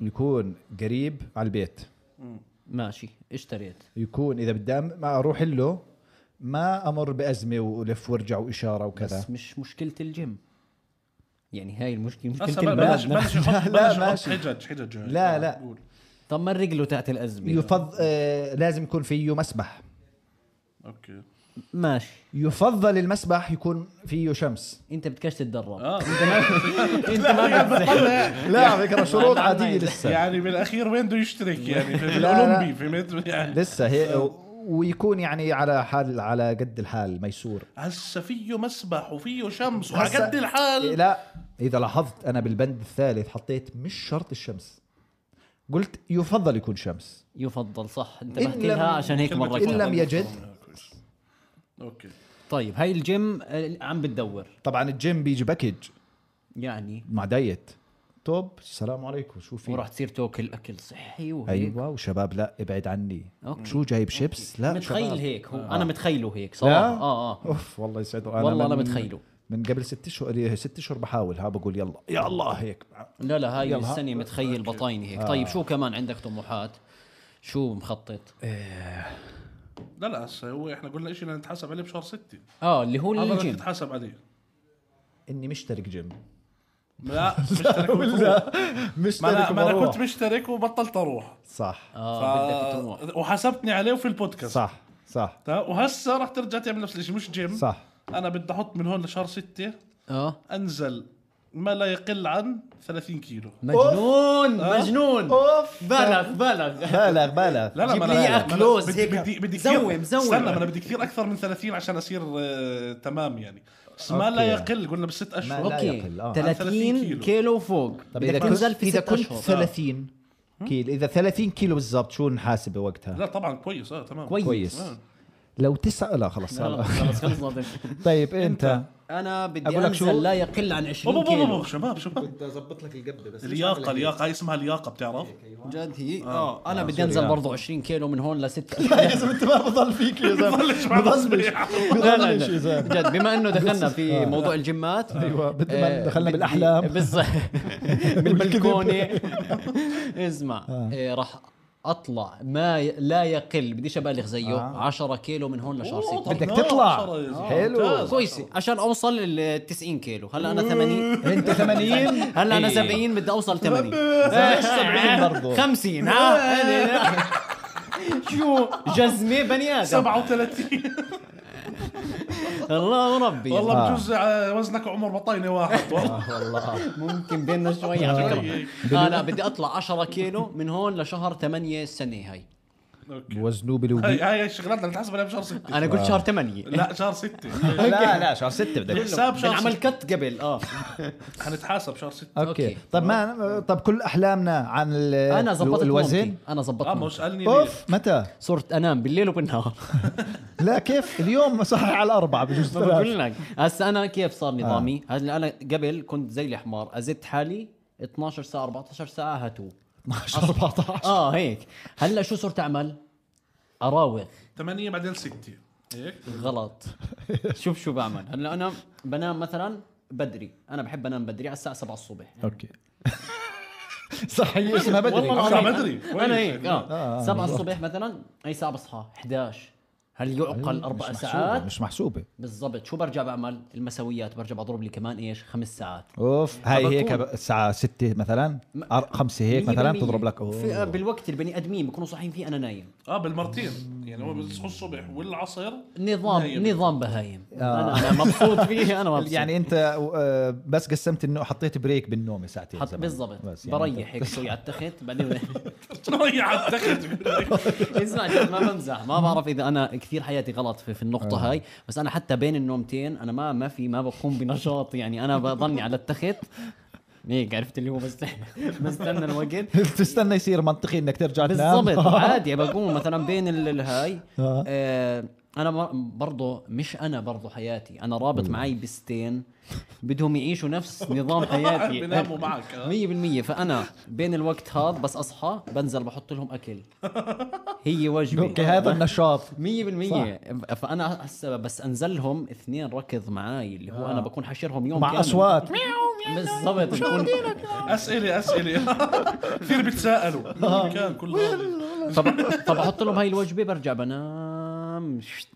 Speaker 1: يكون قريب على البيت
Speaker 2: ماشي اشتريت
Speaker 1: يكون اذا بدي أم- ما اروح له ما امر بازمه والف وارجع واشاره وكذا
Speaker 2: بس مش مشكله الجيم يعني هاي المشكله
Speaker 3: بس
Speaker 2: مشكله
Speaker 3: بلش
Speaker 2: البلد
Speaker 3: بلش
Speaker 1: (laughs)
Speaker 3: يحط
Speaker 1: لا،
Speaker 3: بلش يحط
Speaker 1: ماشي.
Speaker 3: حجج حجج
Speaker 1: لا، لا.
Speaker 3: قول.
Speaker 2: طب مرق له تحت الازمه
Speaker 1: يفض... آه لازم يكون فيه مسبح
Speaker 3: اوكي
Speaker 2: ماشي
Speaker 1: يفضل المسبح يكون فيه
Speaker 2: (laughs)
Speaker 1: شمس
Speaker 2: انت بدكش تتدرب
Speaker 3: آه.
Speaker 2: انت ما انت ما بتزح.
Speaker 1: لا على فكره شروط
Speaker 2: لا، لا،
Speaker 1: عاديه
Speaker 2: لا.
Speaker 1: لسه
Speaker 3: يعني بالاخير وين بده
Speaker 1: (laughs)
Speaker 3: يشترك يعني في
Speaker 1: لا.
Speaker 3: الاولمبي فهمت يعني
Speaker 1: لسه هي ويكون يعني على حال على قد الحال ميسور
Speaker 3: هسه فيه مسبح وفيه شمس
Speaker 1: هسا-
Speaker 3: وعقد الحال
Speaker 1: إيه، لا اذا لاحظت انا بالبند الثالث حطيت مش شرط الشمس قلت يفضل يكون شمس
Speaker 2: يفضل صح
Speaker 1: إن
Speaker 2: انتبهت
Speaker 1: لم-
Speaker 2: لها عشان هيك
Speaker 3: كلمة
Speaker 1: إن
Speaker 2: مرقتها
Speaker 1: لم يجد
Speaker 3: اوكي
Speaker 2: طيب هاي الجيم آه، عم بتدور
Speaker 1: طبعا الجيم بيجي باكج
Speaker 2: يعني
Speaker 1: مع دايت توب السلام عليكم شو في
Speaker 2: وراح تصير تاكل اكل صحي وهيك
Speaker 1: ايوه وشباب لا ابعد عني
Speaker 2: أوكي.
Speaker 1: شو جايب شيبس لا
Speaker 2: متخيل
Speaker 1: شباب.
Speaker 2: هيك هو انا متخيله هيك
Speaker 1: لا
Speaker 2: صراحه اه اه
Speaker 1: اوف والله يسعده
Speaker 2: والله أنا
Speaker 1: من-
Speaker 2: متخيله.
Speaker 1: من قبل ست اشهر ست اشهر بحاول ها بقول يلا يا الله هيك
Speaker 2: لا لا هاي
Speaker 1: يلا. آه.
Speaker 2: السنه متخيل بطايني هيك طيب شو كمان عندك طموحات شو مخطط
Speaker 1: إيه.
Speaker 3: لا لا هسه هو احنا قلنا شيء نتحاسب عليه بشهر 6
Speaker 2: اه اللي
Speaker 1: إيه،
Speaker 2: هو
Speaker 3: هذا اللي
Speaker 2: الجيم
Speaker 3: تتحاسب عليه
Speaker 1: اني مشترك جيم
Speaker 3: لا مشترك
Speaker 1: (laughs)
Speaker 3: وبتروح.
Speaker 1: لا
Speaker 3: ما
Speaker 1: مشترك
Speaker 3: انا ما انا
Speaker 1: وبروح
Speaker 3: كنت مشترك وبطلت اروح
Speaker 1: صح
Speaker 2: اه بدك طموح
Speaker 3: وحسبتني آه، عليه في البودكاست
Speaker 1: صح صح
Speaker 3: تمام؟ وهسه راح ترجع تعمل نفس الشيء مش جيم
Speaker 1: صح
Speaker 3: انا بدي احط من هون لشهر 6
Speaker 2: اه
Speaker 3: انزل ما لا يقل عن 30 كيلو
Speaker 2: مجنون
Speaker 3: آه.
Speaker 2: مجنون
Speaker 1: اوف
Speaker 2: بالغ بالغ
Speaker 1: بالغ بالغ
Speaker 3: لا لا
Speaker 2: جيب
Speaker 3: ما
Speaker 2: لي
Speaker 3: أنا-
Speaker 2: إياك
Speaker 3: ما أنا
Speaker 2: كلوز
Speaker 3: بدي
Speaker 2: هيك.
Speaker 3: بدي بدي
Speaker 2: زوم،
Speaker 3: كثير-
Speaker 2: زوم.
Speaker 3: استنى ما انا بدي كثير اكثر من 30 عشان اصير آه، تمام يعني بس ما لا
Speaker 1: أوكي.
Speaker 3: يقل قلنا بست
Speaker 1: ما
Speaker 3: اشهر
Speaker 1: لا
Speaker 2: اوكي
Speaker 1: يقل، آه.
Speaker 2: 30
Speaker 3: كيلو.
Speaker 2: كيلو, كيلو فوق
Speaker 1: طب
Speaker 2: بدك
Speaker 1: اذا كنت
Speaker 2: تنزل في
Speaker 1: اذا
Speaker 2: 6
Speaker 1: كنت
Speaker 2: اشهر
Speaker 1: 30 كيلو اذا 30 كيلو بالضبط شو نحاسبه وقتها
Speaker 3: لا طبعا كويس اه تمام
Speaker 2: كويس.
Speaker 1: كويس
Speaker 3: آه.
Speaker 1: لو تسعة لا خلاص
Speaker 2: خلص خلص خلص
Speaker 1: طيب انت
Speaker 2: انا بدي
Speaker 1: أقول لك شو؟
Speaker 2: انزل لا يقل عن 20
Speaker 3: أوب أوب أوب
Speaker 2: كيلو
Speaker 3: أوب،
Speaker 2: (laughs)
Speaker 3: شباب شباب
Speaker 1: اظبط لك القبه بس
Speaker 3: الياقه الياقه هاي اسمها
Speaker 2: (laughs)
Speaker 3: الياقه بتعرف
Speaker 2: جد هي اه انا بدي
Speaker 1: سوري،
Speaker 2: انزل
Speaker 1: آه.
Speaker 2: برضه 20 كيلو من هون لست
Speaker 1: يا زلمه انت ما بضل فيك يا زلمه
Speaker 3: بضلش مع
Speaker 1: بضلش
Speaker 2: لا لا
Speaker 1: بضلش يا
Speaker 2: لا.
Speaker 1: زلمه
Speaker 2: جد بما انه دخلنا في موضوع الجيمات
Speaker 1: أيوة، بدل ما
Speaker 2: آه،
Speaker 1: دخلنا
Speaker 2: بدي- (laughs)
Speaker 1: بالأحلام.
Speaker 2: بالظبط بالبلكونه اسمع آه، راح اطلع ما ي- لا يقل بديش ابالغ زيه 10 كيلو من هون لشهر
Speaker 3: أوه، (laughs)
Speaker 2: 6
Speaker 1: بدك
Speaker 3: طب
Speaker 1: تطلع.
Speaker 3: نار، شرى يا زلمة.
Speaker 1: حلو.
Speaker 3: آه، ممتاز.
Speaker 2: كويسه عشان اوصل لل 90 كيلو هلا انا 80
Speaker 1: انت 80
Speaker 2: هلا انا
Speaker 1: إيه.
Speaker 2: 70 بدي اوصل (laughs) 80
Speaker 1: 70 برضه.
Speaker 2: 50 ها (laughs) شو جزمه بني ادم
Speaker 3: 37
Speaker 2: الله ربي
Speaker 3: والله
Speaker 1: آه.
Speaker 3: بجوز آه، وزنك عمر بطينه (laughs) واحد والله
Speaker 2: ممكن بيننا شوي على
Speaker 3: شوي.
Speaker 2: فكره آه لا بدي اطلع 10 كيلو من هون لشهر 8 السنه هاي
Speaker 3: أوكي.
Speaker 1: وزنوه
Speaker 3: هاي
Speaker 1: بالوبي
Speaker 3: هاي الشغلات اللي بتحسب عليها بشهر 6
Speaker 2: انا قلت شهر 8
Speaker 3: لا شهر (laughs) 6
Speaker 1: لا لا شهر 6 بدك
Speaker 3: حساب شهر
Speaker 2: بنعمل
Speaker 3: 6
Speaker 2: كت قبل اه
Speaker 3: حنتحاسب شهر 6
Speaker 1: اوكي
Speaker 2: أوكي.
Speaker 1: طب ما طب كل احلامنا عن ال-
Speaker 2: انا زبطت
Speaker 1: الوزن
Speaker 2: نومتي. انا زبطت
Speaker 3: اه ما هو
Speaker 2: نومتي.
Speaker 3: سالني ليه
Speaker 1: اوف متى
Speaker 2: صرت انام بالليل وبالنهار
Speaker 1: لا كيف اليوم صحيح على الاربعه بجوز
Speaker 2: (laughs) ما
Speaker 1: ثلاث.
Speaker 2: بقول لك هسا انا كيف صار نظامي هلا انا قبل كنت زي الحمار ازت حالي 12 ساعه 14 ساعه هاتو
Speaker 1: 12 14
Speaker 2: اه هيك هلا شو صرت اعمل اراوغ
Speaker 3: 8 بعدين 6 هيك
Speaker 2: غلط شوف شو بعمل هلا انا بنام مثلا بدري انا بحب انام بدري على الساعه 7 الصبح
Speaker 1: (laughs) اوكي صح هي اسمها بدري
Speaker 2: والله
Speaker 3: أنا
Speaker 2: العظيم.
Speaker 3: بدري. كويس.
Speaker 2: انا هيك
Speaker 1: آه،
Speaker 2: اه
Speaker 1: آه،
Speaker 2: 7
Speaker 1: بالضبط.
Speaker 2: الصبح مثلا اي ساعه بصحى 11 هل يعقل
Speaker 1: أيوة،
Speaker 2: اربع
Speaker 1: مش محسوبة،
Speaker 2: ساعات
Speaker 1: مش محسوبه
Speaker 2: بالضبط شو برجع بعمل المسويات برجع بضرب لي كمان ايش خمس ساعات
Speaker 1: اوف هاي
Speaker 2: فبكون-
Speaker 1: هيك الساعه 6 مثلا 5 هيك مثلا
Speaker 2: 100%
Speaker 1: تضرب لك
Speaker 2: يعني في آه،
Speaker 1: أوه.
Speaker 2: بالوقت البني ادمين بيكونوا صاحيين فيه انا نايم
Speaker 3: اه بالمرتين يعني هو بيصحوا الصبح والعصر (laughs)
Speaker 2: نظام
Speaker 3: نايم.
Speaker 2: نظام بهايم انا انا مبسوط فيه انا مبسوط
Speaker 1: آه. (laughs) يعني انت آه، بس قسمت انه حطيت بريك بالنوم ساعتين
Speaker 2: حط
Speaker 1: زمان.
Speaker 2: بالضبط
Speaker 1: بس يعني أنت-
Speaker 2: بريح هيك شوي على التخت بعدين
Speaker 3: تريح على التخت
Speaker 2: اسمع جد إيه، ما بمزح ما بعرف اذا انا كثير حياتي غلط في, في النقطه
Speaker 1: آه.
Speaker 2: هاي بس انا حتى بين النومتين انا ما ما في ما بقوم بنشاط يعني انا بضلني على التخت هيك عرفت اللي هو بس (laughs) بستنى الوقت
Speaker 1: (laughs) تستنى يصير منطقي انك ترجع تنام (laughs)
Speaker 2: بالضبط عادي بقوم مثلا بين ال- الهاي
Speaker 1: نعم. آه.
Speaker 2: آه انا بر- برضه مش انا برضه حياتي انا رابط معي بستين بدهم يعيشوا نفس نظام
Speaker 3: (laughs)
Speaker 2: حياتي
Speaker 3: بيناموا معك آه.
Speaker 2: مية بالمية فأنا بين الوقت هذا بس أصحى بنزل بحط لهم أكل هي وجبة
Speaker 1: اوكي هذا النشاط
Speaker 2: مية بالمية فأنا هسه بس أنزلهم اثنين ركض معاي اللي هو أنا بكون حشرهم يوم
Speaker 1: آه. مع
Speaker 2: كامل.
Speaker 1: اصوات
Speaker 2: بالضبط بكون
Speaker 3: اسئله اسئله (laughs) كثير بيتساءلوا مين كان كل هذا (laughs)
Speaker 2: فب- فبحط لهم هاي الوجبة برجع بنام شت.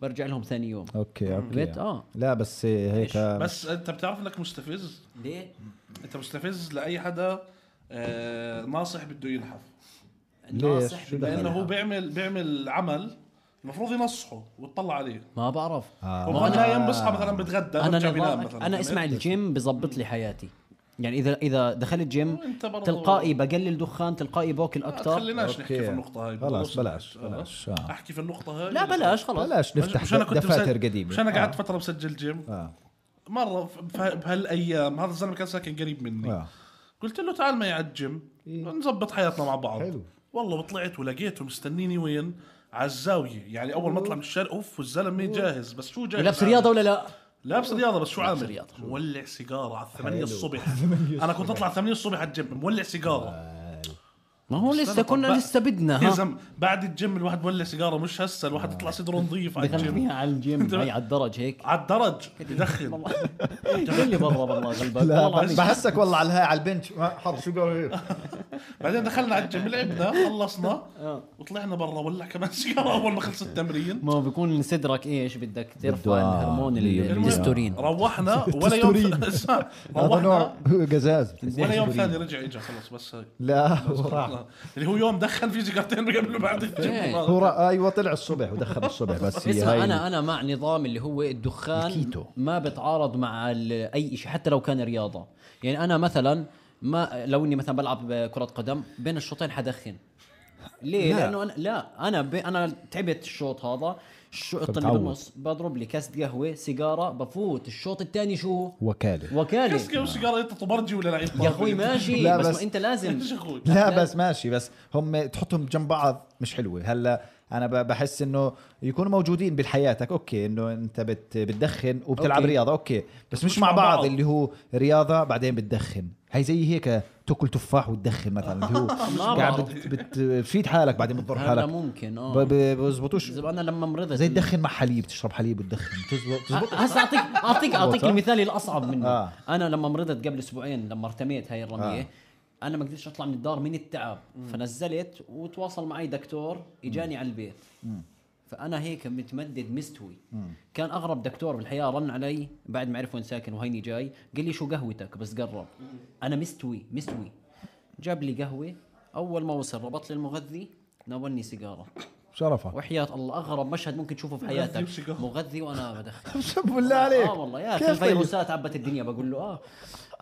Speaker 2: برجع لهم ثاني يوم
Speaker 1: اوكي
Speaker 2: بيت
Speaker 1: اوكي
Speaker 2: اه
Speaker 1: لا بس هيك
Speaker 3: بس انت بتعرف انك مستفز
Speaker 2: ليه؟
Speaker 3: انت مستفز لاي حدا آه، ناصح بده ينحف
Speaker 4: ناصح
Speaker 1: شو
Speaker 4: بالمنحة.
Speaker 3: لانه هو بيعمل بيعمل عمل المفروض ينصحه وتطلع عليه
Speaker 2: ما بعرف
Speaker 1: آه.
Speaker 3: هو نايم بصحى مثلا بتغدى
Speaker 2: انا
Speaker 3: برجع بينام
Speaker 2: نظامك
Speaker 3: مثلاً.
Speaker 2: انا اسمع الجيم بزبط لي حياتي يعني اذا اذا دخلت جيم
Speaker 3: وأنت برضو- آه،
Speaker 2: تلقائي بقلل دخان تلقائي باكل
Speaker 3: ما
Speaker 2: اكثر
Speaker 3: تخليناش نحكي
Speaker 1: أوكي.
Speaker 3: في النقطة هاي
Speaker 1: خلاص،
Speaker 3: بالنص.
Speaker 1: بلاش،
Speaker 3: آه.
Speaker 1: بلاش، آه.
Speaker 3: احكي في النقطة هاي
Speaker 2: لا بلاش خلاص
Speaker 1: بلاش
Speaker 3: مش انا
Speaker 1: نفتح
Speaker 3: كنت
Speaker 1: دفاتر
Speaker 3: مسجل-
Speaker 1: قديمه
Speaker 3: مش انا قعدت
Speaker 1: آه.
Speaker 3: فترة مسجل جيم
Speaker 1: آه.
Speaker 3: مرة ف- ف- بهالايام هذا الزلمة كان ساكن قريب مني
Speaker 1: آه. إيه.
Speaker 3: قلت له تعال معي على الجيم نظبط حياتنا مع بعض
Speaker 1: حلو.
Speaker 3: والله طلعت ولقيته مستنيني وين على الزاوية يعني أول ما أطلع من الشارع أوف والزلمة جاهز بس شو جاهز
Speaker 2: لابس
Speaker 3: عامل؟
Speaker 2: رياضه ولا لا؟
Speaker 3: لابس رياضة بس شو عامل؟
Speaker 2: رياضة.
Speaker 3: مولع سيجارة على 8 الصبح
Speaker 1: (laughs)
Speaker 3: أنا كنت أطلع 8 الصبح على الجيم مولع
Speaker 1: آه.
Speaker 3: سيجارة
Speaker 2: ما هو لسه
Speaker 3: استنى،
Speaker 2: كنا
Speaker 3: طب-
Speaker 2: لسه بدنا
Speaker 3: يا
Speaker 2: ها
Speaker 3: زلمة بعد الجيم الواحد مولع سيجارة مش هسه الواحد
Speaker 1: آه.
Speaker 3: يطلع صدره نظيف على
Speaker 2: دخلت
Speaker 3: الجيم
Speaker 2: فيها
Speaker 1: (laughs)
Speaker 2: على الجيم هي على الدرج هيك
Speaker 3: على الدرج
Speaker 2: (laughs)
Speaker 3: يدخن
Speaker 2: والله اللي برا والله غلبك
Speaker 3: طيب،
Speaker 1: لا
Speaker 2: والله العظيم.
Speaker 1: بحسك والله على الهاي على البنش ما حر شو قال
Speaker 3: بعدين دخلنا على الجيم لعبنا خلصنا
Speaker 2: آه.
Speaker 3: وطلعنا برا ولع كمان سيجارة أول ما خلص التمرين
Speaker 2: (laughs) ما بيكون صدرك ايش بدك ترفع
Speaker 1: بده-
Speaker 2: الهرمون
Speaker 1: المهم.
Speaker 2: الدستورين
Speaker 1: (laughs)
Speaker 3: روحنا ولا يوم (laughs) اسمع،
Speaker 1: هذا نوع
Speaker 3: روحنا
Speaker 1: قزاز
Speaker 3: ولا يوم ثاني رجع اجى خلص بس هاي
Speaker 1: لا (laughs) هو راح
Speaker 3: (laughs) اللي هو يوم دخن في سيجارتين قبل وبعد (laughs)
Speaker 2: إيه.
Speaker 1: هو
Speaker 3: الجيم
Speaker 1: راح ايوه طلع الصبح ودخل الصبح بس هي
Speaker 2: اسمع
Speaker 1: هاي
Speaker 2: انا انا مع نظام اللي هو الدخان
Speaker 1: الكيتو.
Speaker 2: ما بتعارض مع ال- اي شيء حتى لو كان رياضه يعني انا مثلا ما لو اني مثلا بلعب كره قدم بين الشوطين حدخن ليه؟
Speaker 1: لا.
Speaker 2: لا. لانه انا لا انا ب... انا تعبت الشوط هذا الشوط اللي
Speaker 1: فبتعود.
Speaker 2: بالنص بضرب لي كاسة قهوه سيجاره بفوت الشوط الثاني شو
Speaker 1: وكاله
Speaker 2: وكاله
Speaker 3: كسكه وسيجاره انت طبرجي ولا لعيب
Speaker 2: يا اخوي ماشي
Speaker 1: لا
Speaker 2: بس,
Speaker 1: بس-
Speaker 2: ما انت
Speaker 1: (laughs)
Speaker 2: لازم
Speaker 3: (laughs) ايش اخوي
Speaker 1: لا بس ماشي بس هم تحطهم جنب بعض مش حلوه هلا انا ب- بحس انه يكونوا موجودين بحياتك اوكي انه انت بت بتدخن وبتلعب
Speaker 2: أوكي.
Speaker 1: أوكي. رياضه اوكي بس مش مع بعض اللي هو رياضه بعدين بتدخن هي زي هيك تاكل تفاح وتدخن مثلا اللي هو قاعد
Speaker 2: بعرف.
Speaker 1: بت- بت- بتفيد حالك بعدين بتضر
Speaker 2: هذا
Speaker 1: حالك
Speaker 2: ممكن
Speaker 1: ب-
Speaker 2: اه
Speaker 1: ب- بزبطوش
Speaker 2: زي- انا لما مرضت
Speaker 1: زي تدخن مع حليب تشرب حليب وتدخن بتزبط- بتزبط
Speaker 2: أه، هسه اعطيك اعطيك اعطيك
Speaker 1: ها؟
Speaker 2: المثال الاصعب منه
Speaker 1: آه.
Speaker 2: انا لما مرضت قبل اسبوعين لما ارتميت هاي الرميه
Speaker 1: آه.
Speaker 2: انا ما قدرتش اطلع من الدار من التعب فنزلت وتواصل معي دكتور اجاني على البيت فانا هيك متمدد مستوي كان اغرب دكتور بالحياه رن علي بعد ما عرف وين ساكن وهيني جاي قال لي شو قهوتك بس قرب انا مستوي مستوي جاب لي قهوه اول ما وصل ربط لي المغذي ناولني سيجاره
Speaker 1: شرفك
Speaker 2: وحياه الله اغرب مشهد ممكن تشوفه في حياتك
Speaker 3: وسيجارة.
Speaker 2: مغذي وانا بدخن
Speaker 1: (laughs) بالله عليك
Speaker 2: اه والله يا اخي
Speaker 1: كيف طيب؟
Speaker 2: الفيروسات عبت الدنيا بقول له اه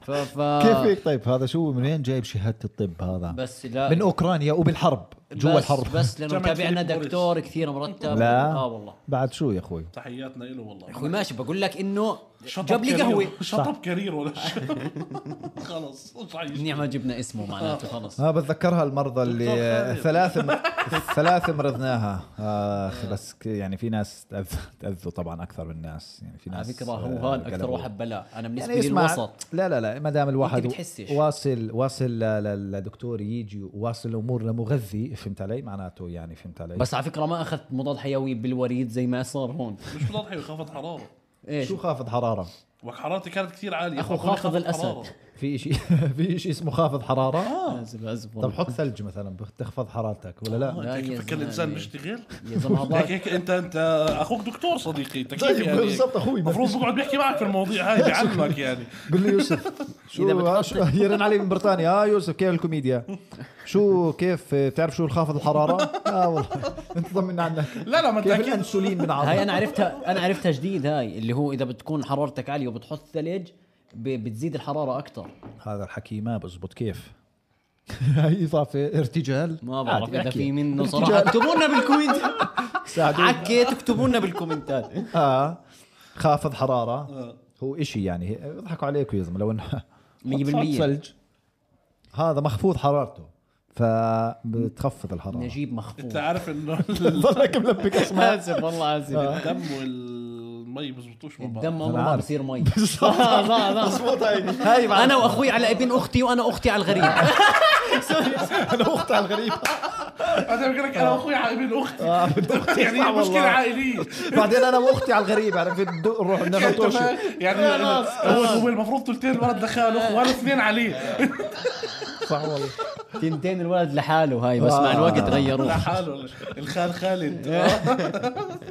Speaker 2: ف ف
Speaker 1: كيف هيك طيب هذا شو من وين جايب شهاده الطب هذا
Speaker 2: بس لا
Speaker 1: من اوكرانيا وبالحرب جوا
Speaker 2: آه. بس-
Speaker 1: الحرب
Speaker 2: بس لانه
Speaker 3: جامعة
Speaker 2: تابعنا
Speaker 3: فيليب موريس.
Speaker 2: دكتور كثير مرتب
Speaker 1: لا
Speaker 2: اه والله
Speaker 1: بعد شو يا اخوي
Speaker 3: تحياتنا له والله
Speaker 2: اخوي ماشي بقول لك انه
Speaker 3: شطب
Speaker 2: جاب لي
Speaker 3: كارير.
Speaker 2: قهوه
Speaker 3: (laughs) شطب كارير ولا شيء (laughs) خلص مش عايش
Speaker 2: منيح نعم، ما جبنا اسمه معناته خلص
Speaker 1: ها بتذكرها المرضى
Speaker 3: دكتور
Speaker 1: اللي
Speaker 3: خالد.
Speaker 1: ثلاثة
Speaker 2: (laughs)
Speaker 1: م... ثلاثة مرضناها اخ
Speaker 2: آه.
Speaker 1: بس ك- يعني في ناس تأذ- تأذوا طبعا اكثر من الناس يعني في
Speaker 2: على
Speaker 1: ناس
Speaker 2: فكره هو
Speaker 1: آه،
Speaker 2: هون اكثر
Speaker 1: قلبوا.
Speaker 2: واحد بلاء انا بالنسبه
Speaker 1: يعني
Speaker 2: لي
Speaker 1: اسمع
Speaker 2: الوسط
Speaker 1: لا لا لا ما دام الواحد
Speaker 2: بتحسش.
Speaker 1: واصل واصل ل- ل- لدكتور يجي واصل الامور لمغذي فهمت علي معناته يعني فهمت علي
Speaker 2: بس على فكره ما اخذت مضاد حيوي بالوريد زي ما صار هون
Speaker 3: مش بتضحي خافت حراره
Speaker 2: ايش
Speaker 1: شو خافض حراره
Speaker 3: وحرارتي كانت كثير عاليه
Speaker 2: أخو
Speaker 3: فأخوي
Speaker 2: خافض الأسد.
Speaker 3: حرارة.
Speaker 1: في شيء (laughs) في شيء اسمه خافض حراره
Speaker 2: أزف أزف
Speaker 1: آه. طب
Speaker 2: آه. والله.
Speaker 1: حط ثلج مثلا بتخفض حرارتك ولا لا
Speaker 3: آه، أنت
Speaker 2: لا يا
Speaker 3: هيك فكر
Speaker 2: زلمة.
Speaker 3: الانسان بيشتغل
Speaker 1: (laughs)
Speaker 2: يا زلمه
Speaker 3: هيك
Speaker 2: هذا
Speaker 3: هيك انت انت اخوك دكتور صديقي انت كيف
Speaker 1: طيب،
Speaker 3: يعني هيك؟
Speaker 1: بالضبط أخوي.
Speaker 3: المفروض بقعد بيحكي معك في المواضيع
Speaker 2: (laughs)
Speaker 3: هاي بيعلمك يعني
Speaker 1: قل لي يوسف شو
Speaker 2: إذا بتحط-
Speaker 1: شو- يرن علي من بريطانيا اه يوسف كيف الكوميديا شو كيف بتعرف شو الخافض الحراره اه والله انت طمنا عنك
Speaker 3: لا لا ما انت
Speaker 1: كيف
Speaker 3: اكيد
Speaker 1: الانسولين من
Speaker 2: هاي
Speaker 1: عظم
Speaker 2: انا عرفتها انا عرفتها جديد هاي اللي هو اذا بتكون حرارتك عاليه وبتحط ثلج ب- بتزيد الحراره اكثر
Speaker 1: هذا الحكي ما بزبط كيف (laughs) هاي اضافه ارتجال
Speaker 2: ما بعرف
Speaker 1: عادي،
Speaker 2: اذا
Speaker 1: احكي.
Speaker 2: في منه
Speaker 1: ارتجال.
Speaker 2: صراحه (laughs) اكتبوا لنا بالكومنت
Speaker 1: ساعدوني.
Speaker 2: عكيت اكتبوا لنا بالكومنتات
Speaker 1: اه خافض
Speaker 3: آه.
Speaker 1: حراره هو إشي يعني يضحكوا عليكم يا زلمه لو انه
Speaker 2: 100%
Speaker 1: حط ثلج هذا مخفوض حرارته فبتخفض الحراره
Speaker 2: (laughs) نجيب
Speaker 3: انت
Speaker 2: (laughs) مخفوق
Speaker 3: عارف انه
Speaker 1: ضلك ملبك اسماء
Speaker 2: اسف والله اسف
Speaker 3: الدم والمي بزبطوش مع بعض
Speaker 2: الدم عمره
Speaker 1: أنا
Speaker 2: ما
Speaker 1: عارف.
Speaker 2: بصير (laughs) مي آه، صح (laughs) صح
Speaker 1: هاي بعد
Speaker 2: انا واخوي على ابن اختي وانا اختي على الغريب
Speaker 1: انا اختها الغريبه
Speaker 3: انا بقول لك انا واخوي على ابن اختي
Speaker 2: آه.
Speaker 3: يعني هي مشكله عائليه
Speaker 1: بعدين انا واختي على الغريب يعني في الدو- نروح ناخذ توشي
Speaker 3: يعني هو هو المفروض ثلثين الولد دخاله وانا اثنين (laughs) عليه
Speaker 1: صح والله
Speaker 2: (laughs) تنتين الولد لحاله هاي بس مع
Speaker 1: آه.
Speaker 2: الوقت غيروه
Speaker 3: لحاله الخال (laughs) خالد آه.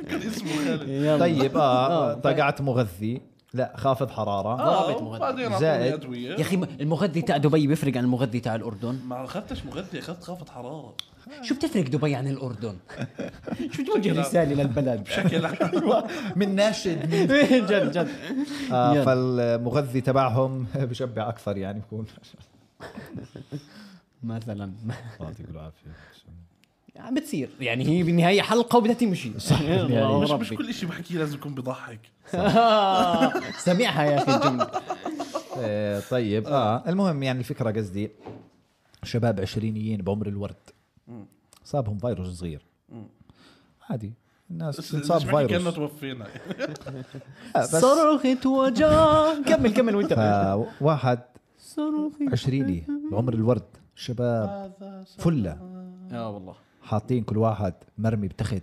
Speaker 3: كان اسمه
Speaker 2: (laughs)
Speaker 3: خالد
Speaker 2: يلا.
Speaker 1: طيب اه طقعت آه، مغذي لا خافض حراره
Speaker 3: آه،
Speaker 2: ضربت مغذي.
Speaker 3: وبعدين اعطوني
Speaker 1: زائد.
Speaker 3: ادويه
Speaker 2: يا اخي المغذي تاع دبي بيفرق عن المغذي تاع الاردن
Speaker 3: ما اخذتش مغذي اخذت خافض (laughs) حراره
Speaker 2: شو بتفرق دبي عن الاردن (laughs) شو بتوجه رساله (laughs) للبلد
Speaker 3: (laughs) بشكل عام
Speaker 1: من ناشد
Speaker 2: جد جد
Speaker 1: آه
Speaker 2: يلا.
Speaker 1: فالمغذي تبعهم (laughs) بشبع اكثر يعني بكون
Speaker 2: مثلا
Speaker 1: يعطيك العافيه
Speaker 2: عم بتصير يعني هي بالنهايه حلقه وبدها تمشي صح يعني الله
Speaker 3: مش مش
Speaker 2: ربي
Speaker 3: كل شيء بحكيه لازم يكون بضحك
Speaker 2: سمعها آه. يا اخي الجمله
Speaker 1: آه طيب اه المهم يعني الفكره قصدي شباب عشرينيين بعمر الورد صابهم فيروس صغير عادي الناس
Speaker 3: بس
Speaker 1: تنصاب
Speaker 3: مش بحكي كانه
Speaker 1: فيروس
Speaker 3: توفينا
Speaker 1: آه (laughs) بس
Speaker 2: صرخت وجع كمل كمل وانت
Speaker 1: فواحد
Speaker 2: صرخت
Speaker 1: عشريني بعمر الورد شباب
Speaker 3: هذا
Speaker 1: فله
Speaker 2: اه والله
Speaker 1: حاطين كل واحد مرمي بتخت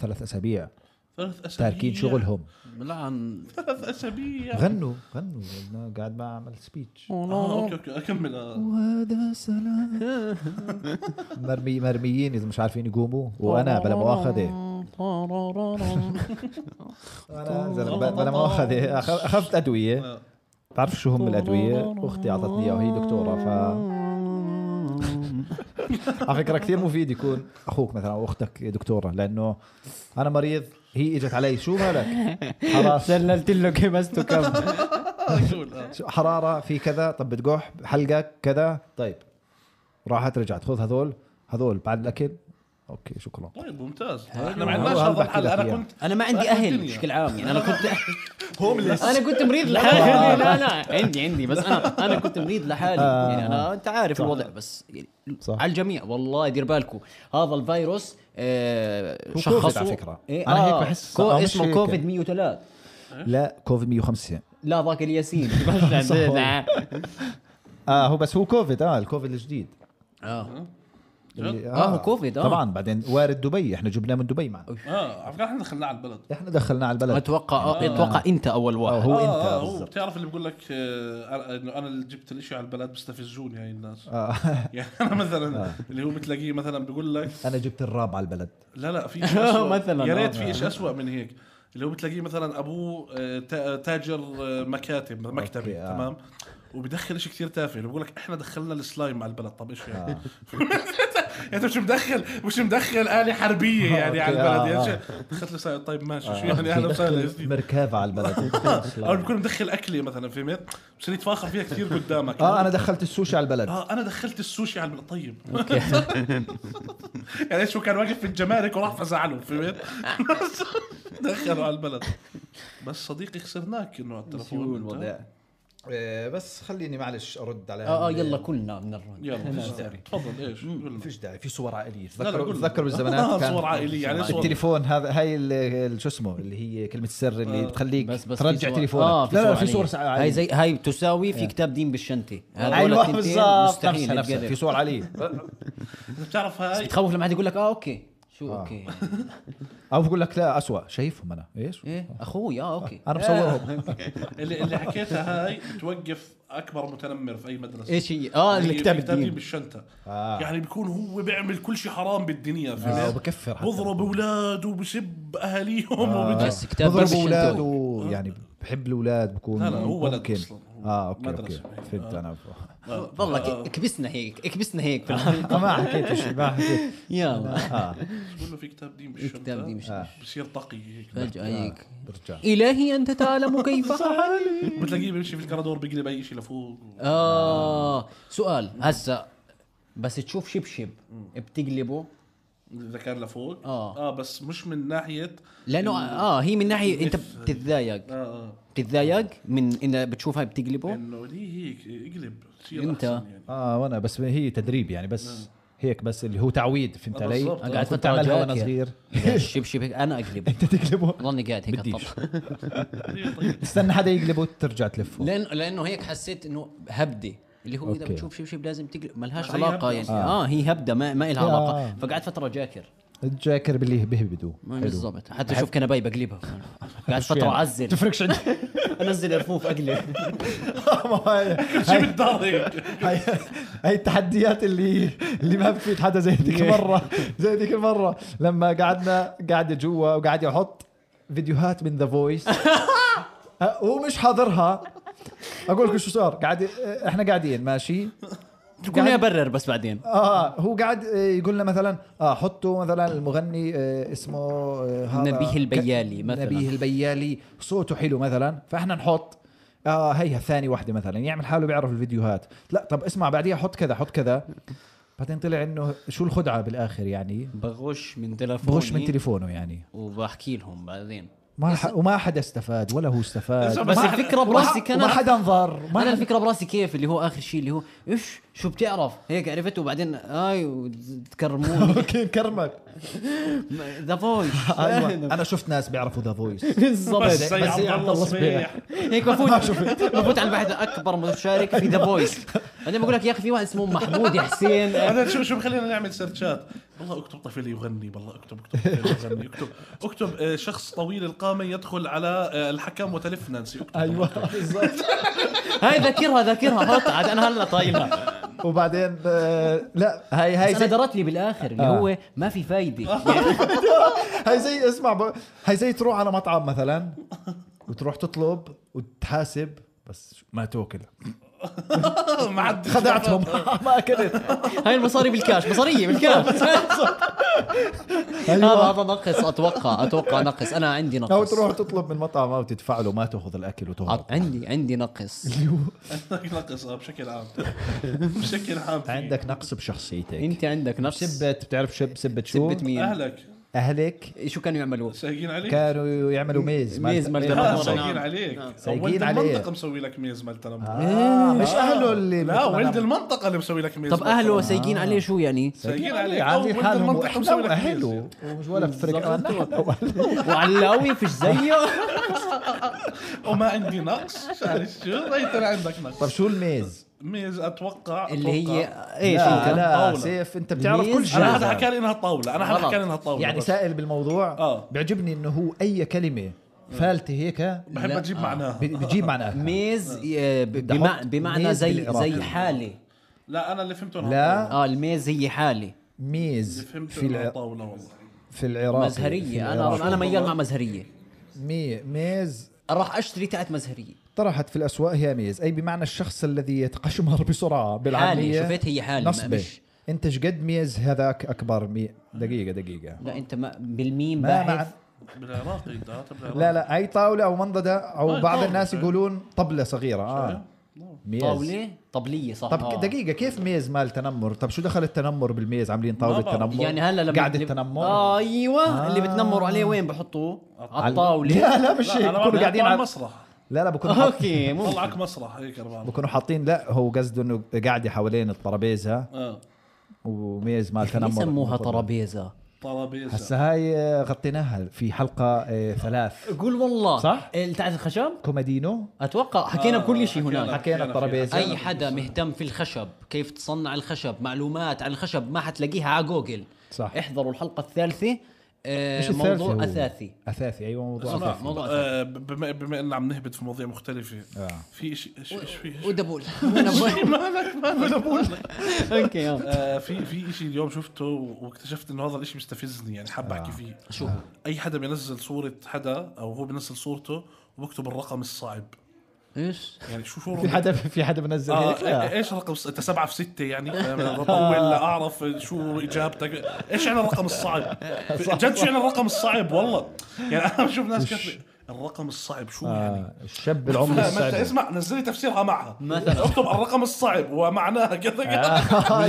Speaker 1: ثلاث اسابيع
Speaker 3: ثلاث اسابيع
Speaker 1: تاركين شغلهم
Speaker 2: لعن
Speaker 3: ثلاث اسابيع
Speaker 1: غنوا غنوا أنا قاعد بعمل سبيتش
Speaker 3: اه اوكي اوكي اكمل آه.
Speaker 1: وهذا سلام مرمي مرميين اذا مش عارفين يقوموا وانا بلا
Speaker 2: (laughs)
Speaker 1: مؤاخذه انا زلمة ب- بلا مؤاخذه أخ- اخذت ادويه تعرف شو هم الادويه اختي اعطتني اياها وهي دكتوره ف على فكره كثير مفيد يكون اخوك مثلا او اختك دكتوره لانه انا مريض هي اجت علي شو مالك خلاص
Speaker 2: سللت له كبسته كم
Speaker 3: قول، آه.
Speaker 1: شو- حراره في كذا طب بتقح حلقك كذا طيب راحت رجعت خذ هذول هذول بعد الاكل اوكي شكرا
Speaker 3: طيب ممتاز احنا ما
Speaker 1: هذا
Speaker 3: عندناش
Speaker 1: هذا
Speaker 3: هذا
Speaker 1: بحكي
Speaker 3: الحل
Speaker 1: لك
Speaker 3: انا
Speaker 1: إياه.
Speaker 3: كنت
Speaker 2: انا ما عندي
Speaker 3: أهل
Speaker 2: اهل
Speaker 3: الدنيا.
Speaker 2: بشكل عام يعني انا كنت هومليس انا كنت مريض لحالي لا لا عندي عندي بس انا انا كنت مريض لحالي يعني انا انت عارف الوضع بس يعني
Speaker 1: آه. صح.
Speaker 2: على الجميع والله دير بالكم هذا الفيروس آه
Speaker 1: هو
Speaker 2: شخصوا
Speaker 1: كوفيد على فكرة.
Speaker 2: إيه
Speaker 1: أنا
Speaker 2: انا
Speaker 1: هيك
Speaker 2: هيك
Speaker 1: بحس.
Speaker 2: بحس كو
Speaker 1: آه، مش
Speaker 2: اسمه
Speaker 1: هيك.
Speaker 2: كوفيد 103
Speaker 1: لا كوفيد 105
Speaker 2: لا ذاك الياسين (laughs)
Speaker 1: (laughs) صح والله. اه هو بس هو كوفيد اه الكوفيد الجديد
Speaker 2: اه
Speaker 1: اللي-
Speaker 2: آه، هو كوفيد، آه.
Speaker 1: طبعا بعدين وارد دبي احنا جبناه من دبي معنا
Speaker 3: اه على فكره احنا دخلناه على البلد
Speaker 1: احنا دخلناه على البلد
Speaker 2: اتوقع آه. اتوقع انت اول
Speaker 1: آه،
Speaker 2: واحد
Speaker 1: هو
Speaker 3: آه،
Speaker 1: انت
Speaker 3: آه، هو
Speaker 1: بالضبط.
Speaker 3: بتعرف اللي بقول لك آه، انه انا اللي جبت الاشي على البلد بستفزوني هاي الناس
Speaker 1: آه.
Speaker 3: (laughs) يعني انا مثلا اللي هو بتلاقيه مثلا بقول لك
Speaker 1: انا جبت الراب على البلد
Speaker 3: لا
Speaker 1: (laughs)
Speaker 3: لا في شيء أسوأ
Speaker 2: مثلاً،
Speaker 3: يا ريت
Speaker 2: آه.
Speaker 3: في شيء اسوء من هيك اللي هو بتلاقيه مثلا ابوه آه، تا- تاجر آه، مكاتب مكتبي
Speaker 1: أوكي، آه.
Speaker 3: تمام وبدخل شيء كثير تافه اللي بقول لك احنا دخلنا السلايم على البلد طب ايش
Speaker 1: آه.
Speaker 3: (laughs) يعني؟ انت مش مدخل مش مدخل آلة حربية يعني
Speaker 1: (laughs)
Speaker 3: على
Speaker 1: أوكي،
Speaker 3: البلد
Speaker 1: آه،
Speaker 3: يعني شو- دخلت السلايم طيب ماشي شو يعني
Speaker 1: بدخل
Speaker 3: اهلا وسهلا يا سيدي.
Speaker 1: مركافه على
Speaker 3: (laughs)
Speaker 1: البلد
Speaker 3: او بكون مدخل اكلي مثلا فهمت؟ بصير يتفاخر فيها كثير
Speaker 1: (laughs)
Speaker 3: قدامك
Speaker 1: اه انا دخلت السوشي على البلد
Speaker 3: اه انا دخلت السوشي على البلد طيب (laughs) يعني شو كان واقف في الجمارك وراح فزعله فهمت (laughs) دخلوا على البلد بس صديقي خسرناك انه على التليفون أنت.
Speaker 1: آه، بس خليني معلش ارد على
Speaker 2: اه اه يلا كلنا بنرن
Speaker 3: يلا فيش داعي. تفضل ايش قول لنا.
Speaker 1: فيش داعي في صور عائليه
Speaker 3: لا، لا،
Speaker 1: تذكروا
Speaker 3: قول.
Speaker 1: تذكروا
Speaker 3: آه،
Speaker 1: بالزمانات كان
Speaker 3: صور عائليه يعني صور
Speaker 1: التليفون هذا هاي ال- ال- شو اسمه اللي هي كلمه السر اللي بتخليك
Speaker 2: بس بس في
Speaker 1: ترجع
Speaker 2: صور-
Speaker 1: تليفونك
Speaker 2: اه
Speaker 1: لا لا في
Speaker 2: عينية.
Speaker 1: صور سع-
Speaker 2: هاي زي هاي تساوي
Speaker 1: آه.
Speaker 2: في كتاب دين بالشنطه هذول
Speaker 1: ايوه
Speaker 2: التنتين
Speaker 1: بالظبط نفسها
Speaker 2: مستحيل
Speaker 1: نفسها
Speaker 2: يتقرب.
Speaker 1: في صور عليه
Speaker 3: إذا بتعرف هاي
Speaker 2: تخوف لما حد يقول لك اه اوكي
Speaker 1: آه.
Speaker 2: شو اوكي
Speaker 1: او بقول لك لا اسوء شايفهم انا ايش
Speaker 2: ايه اخوي اه اوكي
Speaker 1: انا
Speaker 2: آه.
Speaker 1: مصورهم
Speaker 3: اللي, اللي حكيتها هاي بتوقف اكبر متنمر في اي مدرسه
Speaker 2: ايش هي اه
Speaker 3: اللي
Speaker 2: الكتاب
Speaker 3: بيترجم
Speaker 2: الدين
Speaker 3: بالشنطه
Speaker 1: آه.
Speaker 3: يعني بيكون هو بيعمل كل شيء حرام بالدنيا
Speaker 1: آه،
Speaker 3: فهمت
Speaker 1: وبكفر حتى. آه.
Speaker 3: بضرب اولاده وبسب اهاليهم وبج-
Speaker 2: بس كتاب
Speaker 1: بضرب
Speaker 2: بس
Speaker 1: اولاده
Speaker 2: شنطة.
Speaker 1: يعني بحب الاولاد بكون
Speaker 3: لا، لا، هو ولد
Speaker 1: ممكن.
Speaker 3: أصلاً. هو
Speaker 1: اه اوكي اوكي
Speaker 3: مدرسة. آه.
Speaker 1: فهمت انا
Speaker 2: ضلك اكبسنا هيك اكبسنا هيك
Speaker 1: آه، ما حكيت شيء ما حكيت
Speaker 2: (laughs) يلا
Speaker 1: اه
Speaker 3: بقول له في كتاب دين
Speaker 2: إيه
Speaker 3: بالشنطه
Speaker 2: كتاب
Speaker 1: آه.
Speaker 2: دين بالشنطة.
Speaker 3: بصير تقي هيك
Speaker 2: فجأة هيك
Speaker 1: برجع
Speaker 2: إلهي أنت تعلم كيف حالي
Speaker 3: بتلاقيه بيمشي في الكرادور بيقلب اي شيء لفوق
Speaker 2: آه سؤال هسا بس تشوف شبشب بتقلبه
Speaker 3: اذا كان لفوق
Speaker 2: آه.
Speaker 3: اه بس مش من ناحيه
Speaker 2: لأنه آه هي من ناحية أنت بتتضايق
Speaker 3: آه، اه
Speaker 2: بتتضايق من إن بتشوفها
Speaker 1: (laughs)
Speaker 2: بتقلبه
Speaker 3: انه ليه هيك اقلب صير
Speaker 2: أنت.
Speaker 3: أحسن يعني
Speaker 1: اه وانا بس هي تدريب يعني بس هيك بس اللي هو تعويد فهمت
Speaker 3: آه،
Speaker 1: علي؟
Speaker 3: بالضبط.
Speaker 1: أنا
Speaker 2: أنا قاعد
Speaker 1: كنت
Speaker 2: فترة
Speaker 1: اعملها وانا
Speaker 2: جاكية.
Speaker 1: صغير (laughs)
Speaker 2: إذا الشبشب هيك أنا أقلبه
Speaker 1: انت (laughs) تقلبه
Speaker 2: ضلني قاعد هيك
Speaker 1: بديش.
Speaker 2: أطبطب.
Speaker 3: ليه طيب
Speaker 1: استنى حدا يقلبه ترجع تلفه
Speaker 2: لأن لأنه هيك حسيت إنه هبدة اللي هو إذا
Speaker 1: أوكي.
Speaker 2: بتشوف شبشب لازم تقلب ملهاش
Speaker 3: بس هي هبدة
Speaker 2: علاقة يعني آه. هي هبدة ما, ما إلها
Speaker 1: آه.
Speaker 2: علاقة فقعدت فترة جاكر
Speaker 1: الجاكر باللي بهبدوا
Speaker 2: بالضبط حتى اشوف
Speaker 1: (laughs)
Speaker 2: كنباي بقلبها قاعد
Speaker 1: يعني.
Speaker 2: فتره اعزل
Speaker 1: تفرقش (laughs) عندي
Speaker 2: انزل
Speaker 1: (laughs)
Speaker 2: رفوف اقلب
Speaker 3: شو بالدار هيك
Speaker 1: هاي هاي التحديات اللي اللي ما بتفيد حدا زي ذيك (laughs) المره زي ذيك المره (laughs) لما قعدنا قاعده جوا وقاعد يحط فيديوهات من ذا فويس أه، هو مش حاضرها اقول لك شو صار قاعد احنا قاعدين ماشي
Speaker 2: تكون ابرر بس بعدين
Speaker 1: اه هو قاعد آه، يقول لنا مثلا اه حطوا مثلا المغني آه، اسمه آه، هذا
Speaker 2: نبيه
Speaker 1: ك-
Speaker 2: البيالي مثلاً.
Speaker 1: نبيه البيالي صوته حلو مثلا فاحنا نحط اه هيها ثاني واحده مثلا يعمل حاله بيعرف الفيديوهات لا طب اسمع بعديها حط كذا حط كذا بعدين طلع انه شو الخدعه بالاخر يعني
Speaker 2: بغش من تلفوني
Speaker 1: بغش من تليفونه يعني
Speaker 2: وبحكي لهم بعدين
Speaker 1: ما ح... وما حدا استفاد ولا هو استفاد
Speaker 3: طب
Speaker 2: بس
Speaker 3: ما-
Speaker 2: الفكره
Speaker 1: وما,
Speaker 2: براسي
Speaker 1: ح...
Speaker 2: كانت
Speaker 1: وما حدا انظر ما
Speaker 2: انا
Speaker 1: حدا (laughs)
Speaker 2: الفكره براسي كيف اللي هو اخر شيء اللي هو ايش شو بتعرف هيك عرفت وبعدين اي وتكرموني (laughs)
Speaker 1: اوكي كرمك
Speaker 2: ذا فويس
Speaker 1: (laughs) ايوه انا شفت ناس بيعرفوا ذا فويس
Speaker 2: (laughs) بالضبط
Speaker 3: بس زي
Speaker 1: بس
Speaker 3: عبد
Speaker 1: زي عبد
Speaker 3: الله
Speaker 1: الله
Speaker 3: صبيح
Speaker 2: هيك بفوت بفوت على البحث اكبر مشارك في ذا فويس بعدين بقول لك يا اخي في واحد اسمه محمود يا حسين
Speaker 3: انا شو شو خلينا نعمل سيرشات والله اكتب طفل يغني والله اكتب اكتب طفل يغني اكتب اكتب آه، شخص طويل القامه يدخل على آه، الحكم وتلف نانسي اكتب
Speaker 1: ايوه (laughs)
Speaker 2: أيوة.
Speaker 1: بالظبط
Speaker 2: هاي ذاكرها ذاكرها حط عاد انا هلا طايلها
Speaker 1: وبعدين آه، لا هاي هاي
Speaker 2: بس انا
Speaker 1: زي
Speaker 2: درت لي بالاخر اللي
Speaker 1: آه.
Speaker 2: هو ما في فايده
Speaker 1: هاي زي اسمع ب... هاي زي تروح على مطعم مثلا وتروح تطلب وتحاسب بس شو- ما توكل
Speaker 3: (laughs) ما عاد
Speaker 1: خدعتهم ما اكلت
Speaker 2: هاي المصاري بالكاش مصاريه بالكاش (laughs) هذا
Speaker 1: ايوه
Speaker 2: هذا نقص اتوقع اتوقع نقص انا عندي نقص
Speaker 1: او تروح تطلب من مطعم او تدفع له ما تاخذ الاكل وتهرب
Speaker 2: عط- عندي عندي نقص
Speaker 3: عندك نقص آه، بشكل
Speaker 1: (laughs)
Speaker 3: عام بشكل عام في.
Speaker 1: عندك نقص بشخصيتك
Speaker 2: انت عندك نقص
Speaker 1: سبت بتعرف شب سبت شو
Speaker 2: سبت مين
Speaker 3: اهلك
Speaker 1: اهلك
Speaker 2: شو كانوا يعملوا
Speaker 3: سايقين عليك
Speaker 1: كانوا يعملوا ميز مال-
Speaker 2: ميز مال
Speaker 3: آه،
Speaker 2: دمار.
Speaker 3: سايقين
Speaker 2: نعم.
Speaker 3: عليك
Speaker 1: سايقين
Speaker 3: ولد
Speaker 1: عليك.
Speaker 3: المنطقه مسوي لك ميز مال تنمر
Speaker 1: آه، مش اهله اللي
Speaker 3: لا
Speaker 1: مثلاً
Speaker 3: ولد
Speaker 1: عم-
Speaker 3: المنطقه اللي مسوي لك ميز
Speaker 2: طب
Speaker 3: مال
Speaker 2: اهله
Speaker 3: تنمر.
Speaker 2: سايقين عليه شو يعني
Speaker 3: سايقين عليك أو
Speaker 1: عاملين
Speaker 3: ولد
Speaker 1: حالهم
Speaker 3: المنطقه مسوي لك ميز
Speaker 1: اهله ومش ولا فرق
Speaker 2: وعلاوي فيش زيه
Speaker 3: وما عندي نقص شايف شو ريت انا عندك نقص
Speaker 1: طب شو الميز؟
Speaker 3: ميز اتوقع
Speaker 2: اللي هي إيه،
Speaker 3: أتوقع.
Speaker 2: ايش
Speaker 1: لا,
Speaker 2: انت
Speaker 1: لا
Speaker 3: طاولة.
Speaker 1: سيف انت بتعرف كل
Speaker 2: الميز؟
Speaker 1: شيء
Speaker 3: انا هذا حكى لي انها طاوله انا هذا
Speaker 2: غلط.
Speaker 3: حكى لي انها طاوله
Speaker 1: يعني
Speaker 3: بس.
Speaker 1: سائل بالموضوع
Speaker 3: آه.
Speaker 1: بيعجبني انه هو اي كلمه فالته هيك ب-
Speaker 3: بحب اجيب معناها
Speaker 1: بجيب معناها
Speaker 2: ميز آه، ب- بمع- بمعنى
Speaker 1: ميز يعني.
Speaker 2: زي
Speaker 1: بالعراقي.
Speaker 2: زي حاله
Speaker 3: لا انا اللي فهمته انها طاولة.
Speaker 1: لا
Speaker 2: اه الميز هي حاله
Speaker 1: ميز
Speaker 3: اللي فهمته
Speaker 1: في
Speaker 3: انها
Speaker 1: الع...
Speaker 3: طاوله والله
Speaker 1: في العراق
Speaker 2: مزهريه انا انا ميال مع مزهريه
Speaker 1: مي... ميز
Speaker 2: راح اشتري تاعت مزهريه
Speaker 1: طرحت في الاسواق هي ميز اي بمعنى الشخص الذي يتقشمر (laughs) بسرعه بالعاميه
Speaker 2: حالي، شفت هي حالي، ما-
Speaker 1: نصبه
Speaker 2: مش-
Speaker 1: انت شقد ميز هذاك اكبر مي... دقيقه دقيقه
Speaker 2: لا انت ما بالميم
Speaker 1: ما مع...
Speaker 2: باحث
Speaker 3: بالعراقي دعاتها بالعراقي
Speaker 1: لا لا اي طاوله او منضده او
Speaker 2: آه،
Speaker 3: أي
Speaker 1: بعض
Speaker 3: طاولة.
Speaker 1: الناس يقولون طبله صغيره اه ميز
Speaker 2: طاوله طبليه صح
Speaker 1: طب
Speaker 2: آه.
Speaker 1: دقيقة كيف ميز مال تنمر؟ طب شو دخل التنمر بالميز عاملين
Speaker 3: ما
Speaker 1: طاولة
Speaker 3: بعرف.
Speaker 1: تنمر؟
Speaker 2: يعني هلا لما
Speaker 1: قاعدة
Speaker 2: اللي-
Speaker 1: تنمر
Speaker 2: آه ايوه آه. اللي بتنمروا عليه وين بحطوه؟ على الطاوله
Speaker 1: لا (laughs) لا مش هيك
Speaker 3: لا انا
Speaker 1: بكونوا قاعدين على
Speaker 3: مسرح
Speaker 1: لا لا
Speaker 2: (laughs)
Speaker 1: بكونوا حاط...
Speaker 2: اوكي مو
Speaker 3: طلعك مسرح إيه، هيك اربعه
Speaker 1: بكونوا حاطين لا هو قصده انه قاعدة حوالين الترابيزة
Speaker 3: اه
Speaker 1: وميز مال
Speaker 2: ليه
Speaker 1: تنمر
Speaker 2: سموها طرابيزه
Speaker 3: طرابيزه
Speaker 1: هسا هاي آه، غطيناها في حلقة آه، ثلاث
Speaker 2: قول والله
Speaker 1: صح؟
Speaker 2: اللي تاعت الخشب
Speaker 1: كومادينو
Speaker 2: اتوقع حكينا
Speaker 3: آه،
Speaker 2: كل شيء هناك
Speaker 3: حكينا.
Speaker 1: حكينا الطرابيزة
Speaker 2: اي حدا مهتم في الخشب كيف تصنع الخشب معلومات عن الخشب ما حتلاقيها على جوجل
Speaker 1: صح.
Speaker 2: احضروا الحلقه الثالثه آه،
Speaker 1: مش الثالثة
Speaker 2: موضوع
Speaker 1: هو.
Speaker 2: (laughs) اثاثي
Speaker 1: اثاثي ايوه موضوع
Speaker 2: اسمع،
Speaker 1: اثاثي
Speaker 2: موضوع اثاثي
Speaker 3: آه، بما بما ان عم نهبط في مواضيع مختلفه
Speaker 1: آه.
Speaker 3: في شيء ايش ايش في إيش-
Speaker 2: ودبول ودبول. اوكي يلا.
Speaker 3: آه، في في شيء اليوم شفته واكتشفت انه هذا الشيء مستفزني يعني حاب
Speaker 1: آه.
Speaker 3: احكي فيه
Speaker 2: شو
Speaker 3: اي حدا بينزل صوره حدا او هو بينزل صورته وبكتب الرقم الصعب
Speaker 2: ايش
Speaker 3: يعني
Speaker 1: (laughs)
Speaker 3: شو شو
Speaker 1: في حدا في حدا بنزل
Speaker 3: آه
Speaker 1: هيك لا.
Speaker 3: إيه- ايش رقم انت سبعة في ستة يعني أنا بطول لاعرف شو اجابتك ايش يعني الرقم
Speaker 1: (laughs)
Speaker 3: الصعب جد شو يعني الرقم الصعب والله يعني انا بشوف ناس كاتبه الرقم الصعب شو يعني
Speaker 1: آه، الشاب العمر
Speaker 3: (laughs) ما انت
Speaker 1: الصعب
Speaker 3: اسمع نزل لي تفسيرها معها مثلا اكتب الرقم الصعب ومعناها كذا كذا (laughs)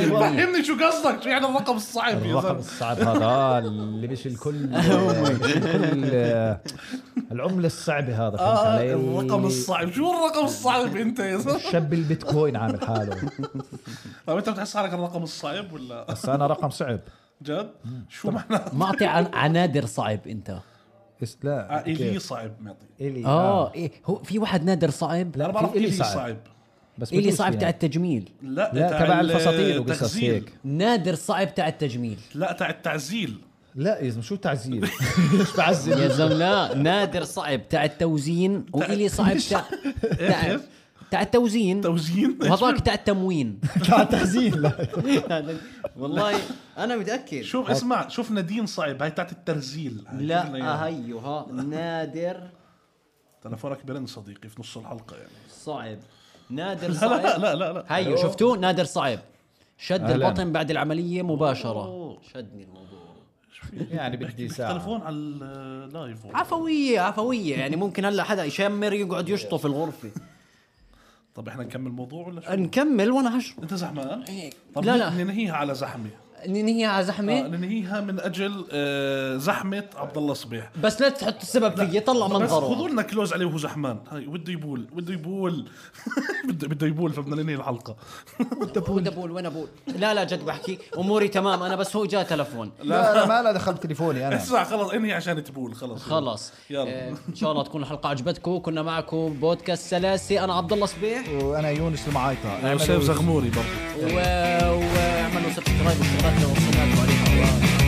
Speaker 1: (laughs)
Speaker 3: فهمني شو قصدك شو يعني الرقم الصعب يا
Speaker 1: آه. أيوة. الرقم
Speaker 3: زلمه
Speaker 1: الصعب هذا آه، اللي مش الكل
Speaker 3: (laughs)
Speaker 1: مش الكل آه، العملة الصعبة هذا فهمت
Speaker 3: آه،
Speaker 1: علي؟
Speaker 3: الرقم الصعب شو الرقم
Speaker 1: (laughs)
Speaker 3: الصعب انت يا زلمه
Speaker 1: الشاب البيتكوين عامل حاله
Speaker 3: طب انت طيب، بتحس حالك الرقم الصعب ولا
Speaker 1: بس انا رقم صعب
Speaker 3: جد شو معناها
Speaker 2: معطي عن- عنادر صعب انت
Speaker 1: بس لا
Speaker 3: الي
Speaker 1: كيف؟ آه،
Speaker 3: صعب معطي
Speaker 1: الي
Speaker 2: اه ايه هو في واحد نادر صعب إيه
Speaker 1: لا
Speaker 3: انا
Speaker 1: بعرف
Speaker 3: بعرف
Speaker 1: الي
Speaker 3: الي
Speaker 1: صعب
Speaker 3: صعب
Speaker 1: بس
Speaker 2: اللي
Speaker 1: بجوز
Speaker 2: صعب
Speaker 1: فينا.
Speaker 2: تاع التجميل
Speaker 3: لا
Speaker 1: لا تبع
Speaker 3: ال-
Speaker 1: الفساتين وقصص
Speaker 3: التغزيل.
Speaker 1: هيك
Speaker 2: نادر صعب تاع التجميل
Speaker 3: لا تاع التعزيل
Speaker 1: لا يا زلمه شو
Speaker 3: (laughs)
Speaker 1: تعزيل ليش بعزل
Speaker 2: يا زلمه لا نادر صعب تاع التوزين والي صعب (laughs) تاع تاع- تاع التوزين
Speaker 3: توزين
Speaker 2: (laughs) وهذاك تاع (laughs) التموين
Speaker 1: لا تعزيل لا
Speaker 2: والله انا متاكد
Speaker 3: شوف اسمع شوف نادين صعب هاي تاعت الترزيل هاي
Speaker 2: لا
Speaker 3: (laughs) قلنا إياها.
Speaker 2: هيو ها نادر
Speaker 3: تلفونك برن صديقي في نص الحلقه يعني (laughs)
Speaker 2: صعب نادر
Speaker 3: لا لا أيوه.
Speaker 2: صعب
Speaker 3: لا لا لا
Speaker 2: هيو شفتوه نادر صعب شد
Speaker 1: أهلاً.
Speaker 2: البطن بعد العمليه مباشره شدني الموضوع
Speaker 1: يعني بدي ساعه
Speaker 3: تلفون على اللايف والله.
Speaker 2: عفويه عفويه يعني ممكن هلا حدا يشمر يقعد
Speaker 3: (laughs)
Speaker 2: يشطف الغرفه
Speaker 3: طب احنا نكمل الموضوع ولا شو؟
Speaker 2: نكمل وانا هشرب
Speaker 3: انت زحمان؟ طب
Speaker 2: لا،
Speaker 3: لا
Speaker 2: لا.
Speaker 3: لا ننهيها على زحمه
Speaker 2: ننهي على
Speaker 3: آه،
Speaker 2: زحمه
Speaker 3: ننهيها من اجل آه، زحمه عبد الله صبيح
Speaker 2: بس لا تحط السبب فيي طلع
Speaker 3: بس خذوا
Speaker 2: منظره
Speaker 3: لنا كلوز عليه وهو زحمان هاي بده يبول بده يبول (laughs) بده بده يبول فبدنا ننهي الحلقه
Speaker 2: وين ابول وين ابول لا لا جد بحكي اموري تمام انا بس هو جاء تلفون
Speaker 1: لا انا ما لا دخلت تليفوني انا
Speaker 3: اسمع خلص انهي عشان تبول خلص
Speaker 2: خلص
Speaker 3: يلا.
Speaker 2: آه، ان شاء الله تكون الحلقه عجبتكم كنا معكم بودكاست سلاسي انا عبد الله صبيح
Speaker 1: وانا يونس المعايطه
Speaker 3: انا
Speaker 1: اعملوا-
Speaker 3: شايف زغموري برضه
Speaker 2: و- واعملوا سبسكرايب وشغلاتنا وصلاتكم عليها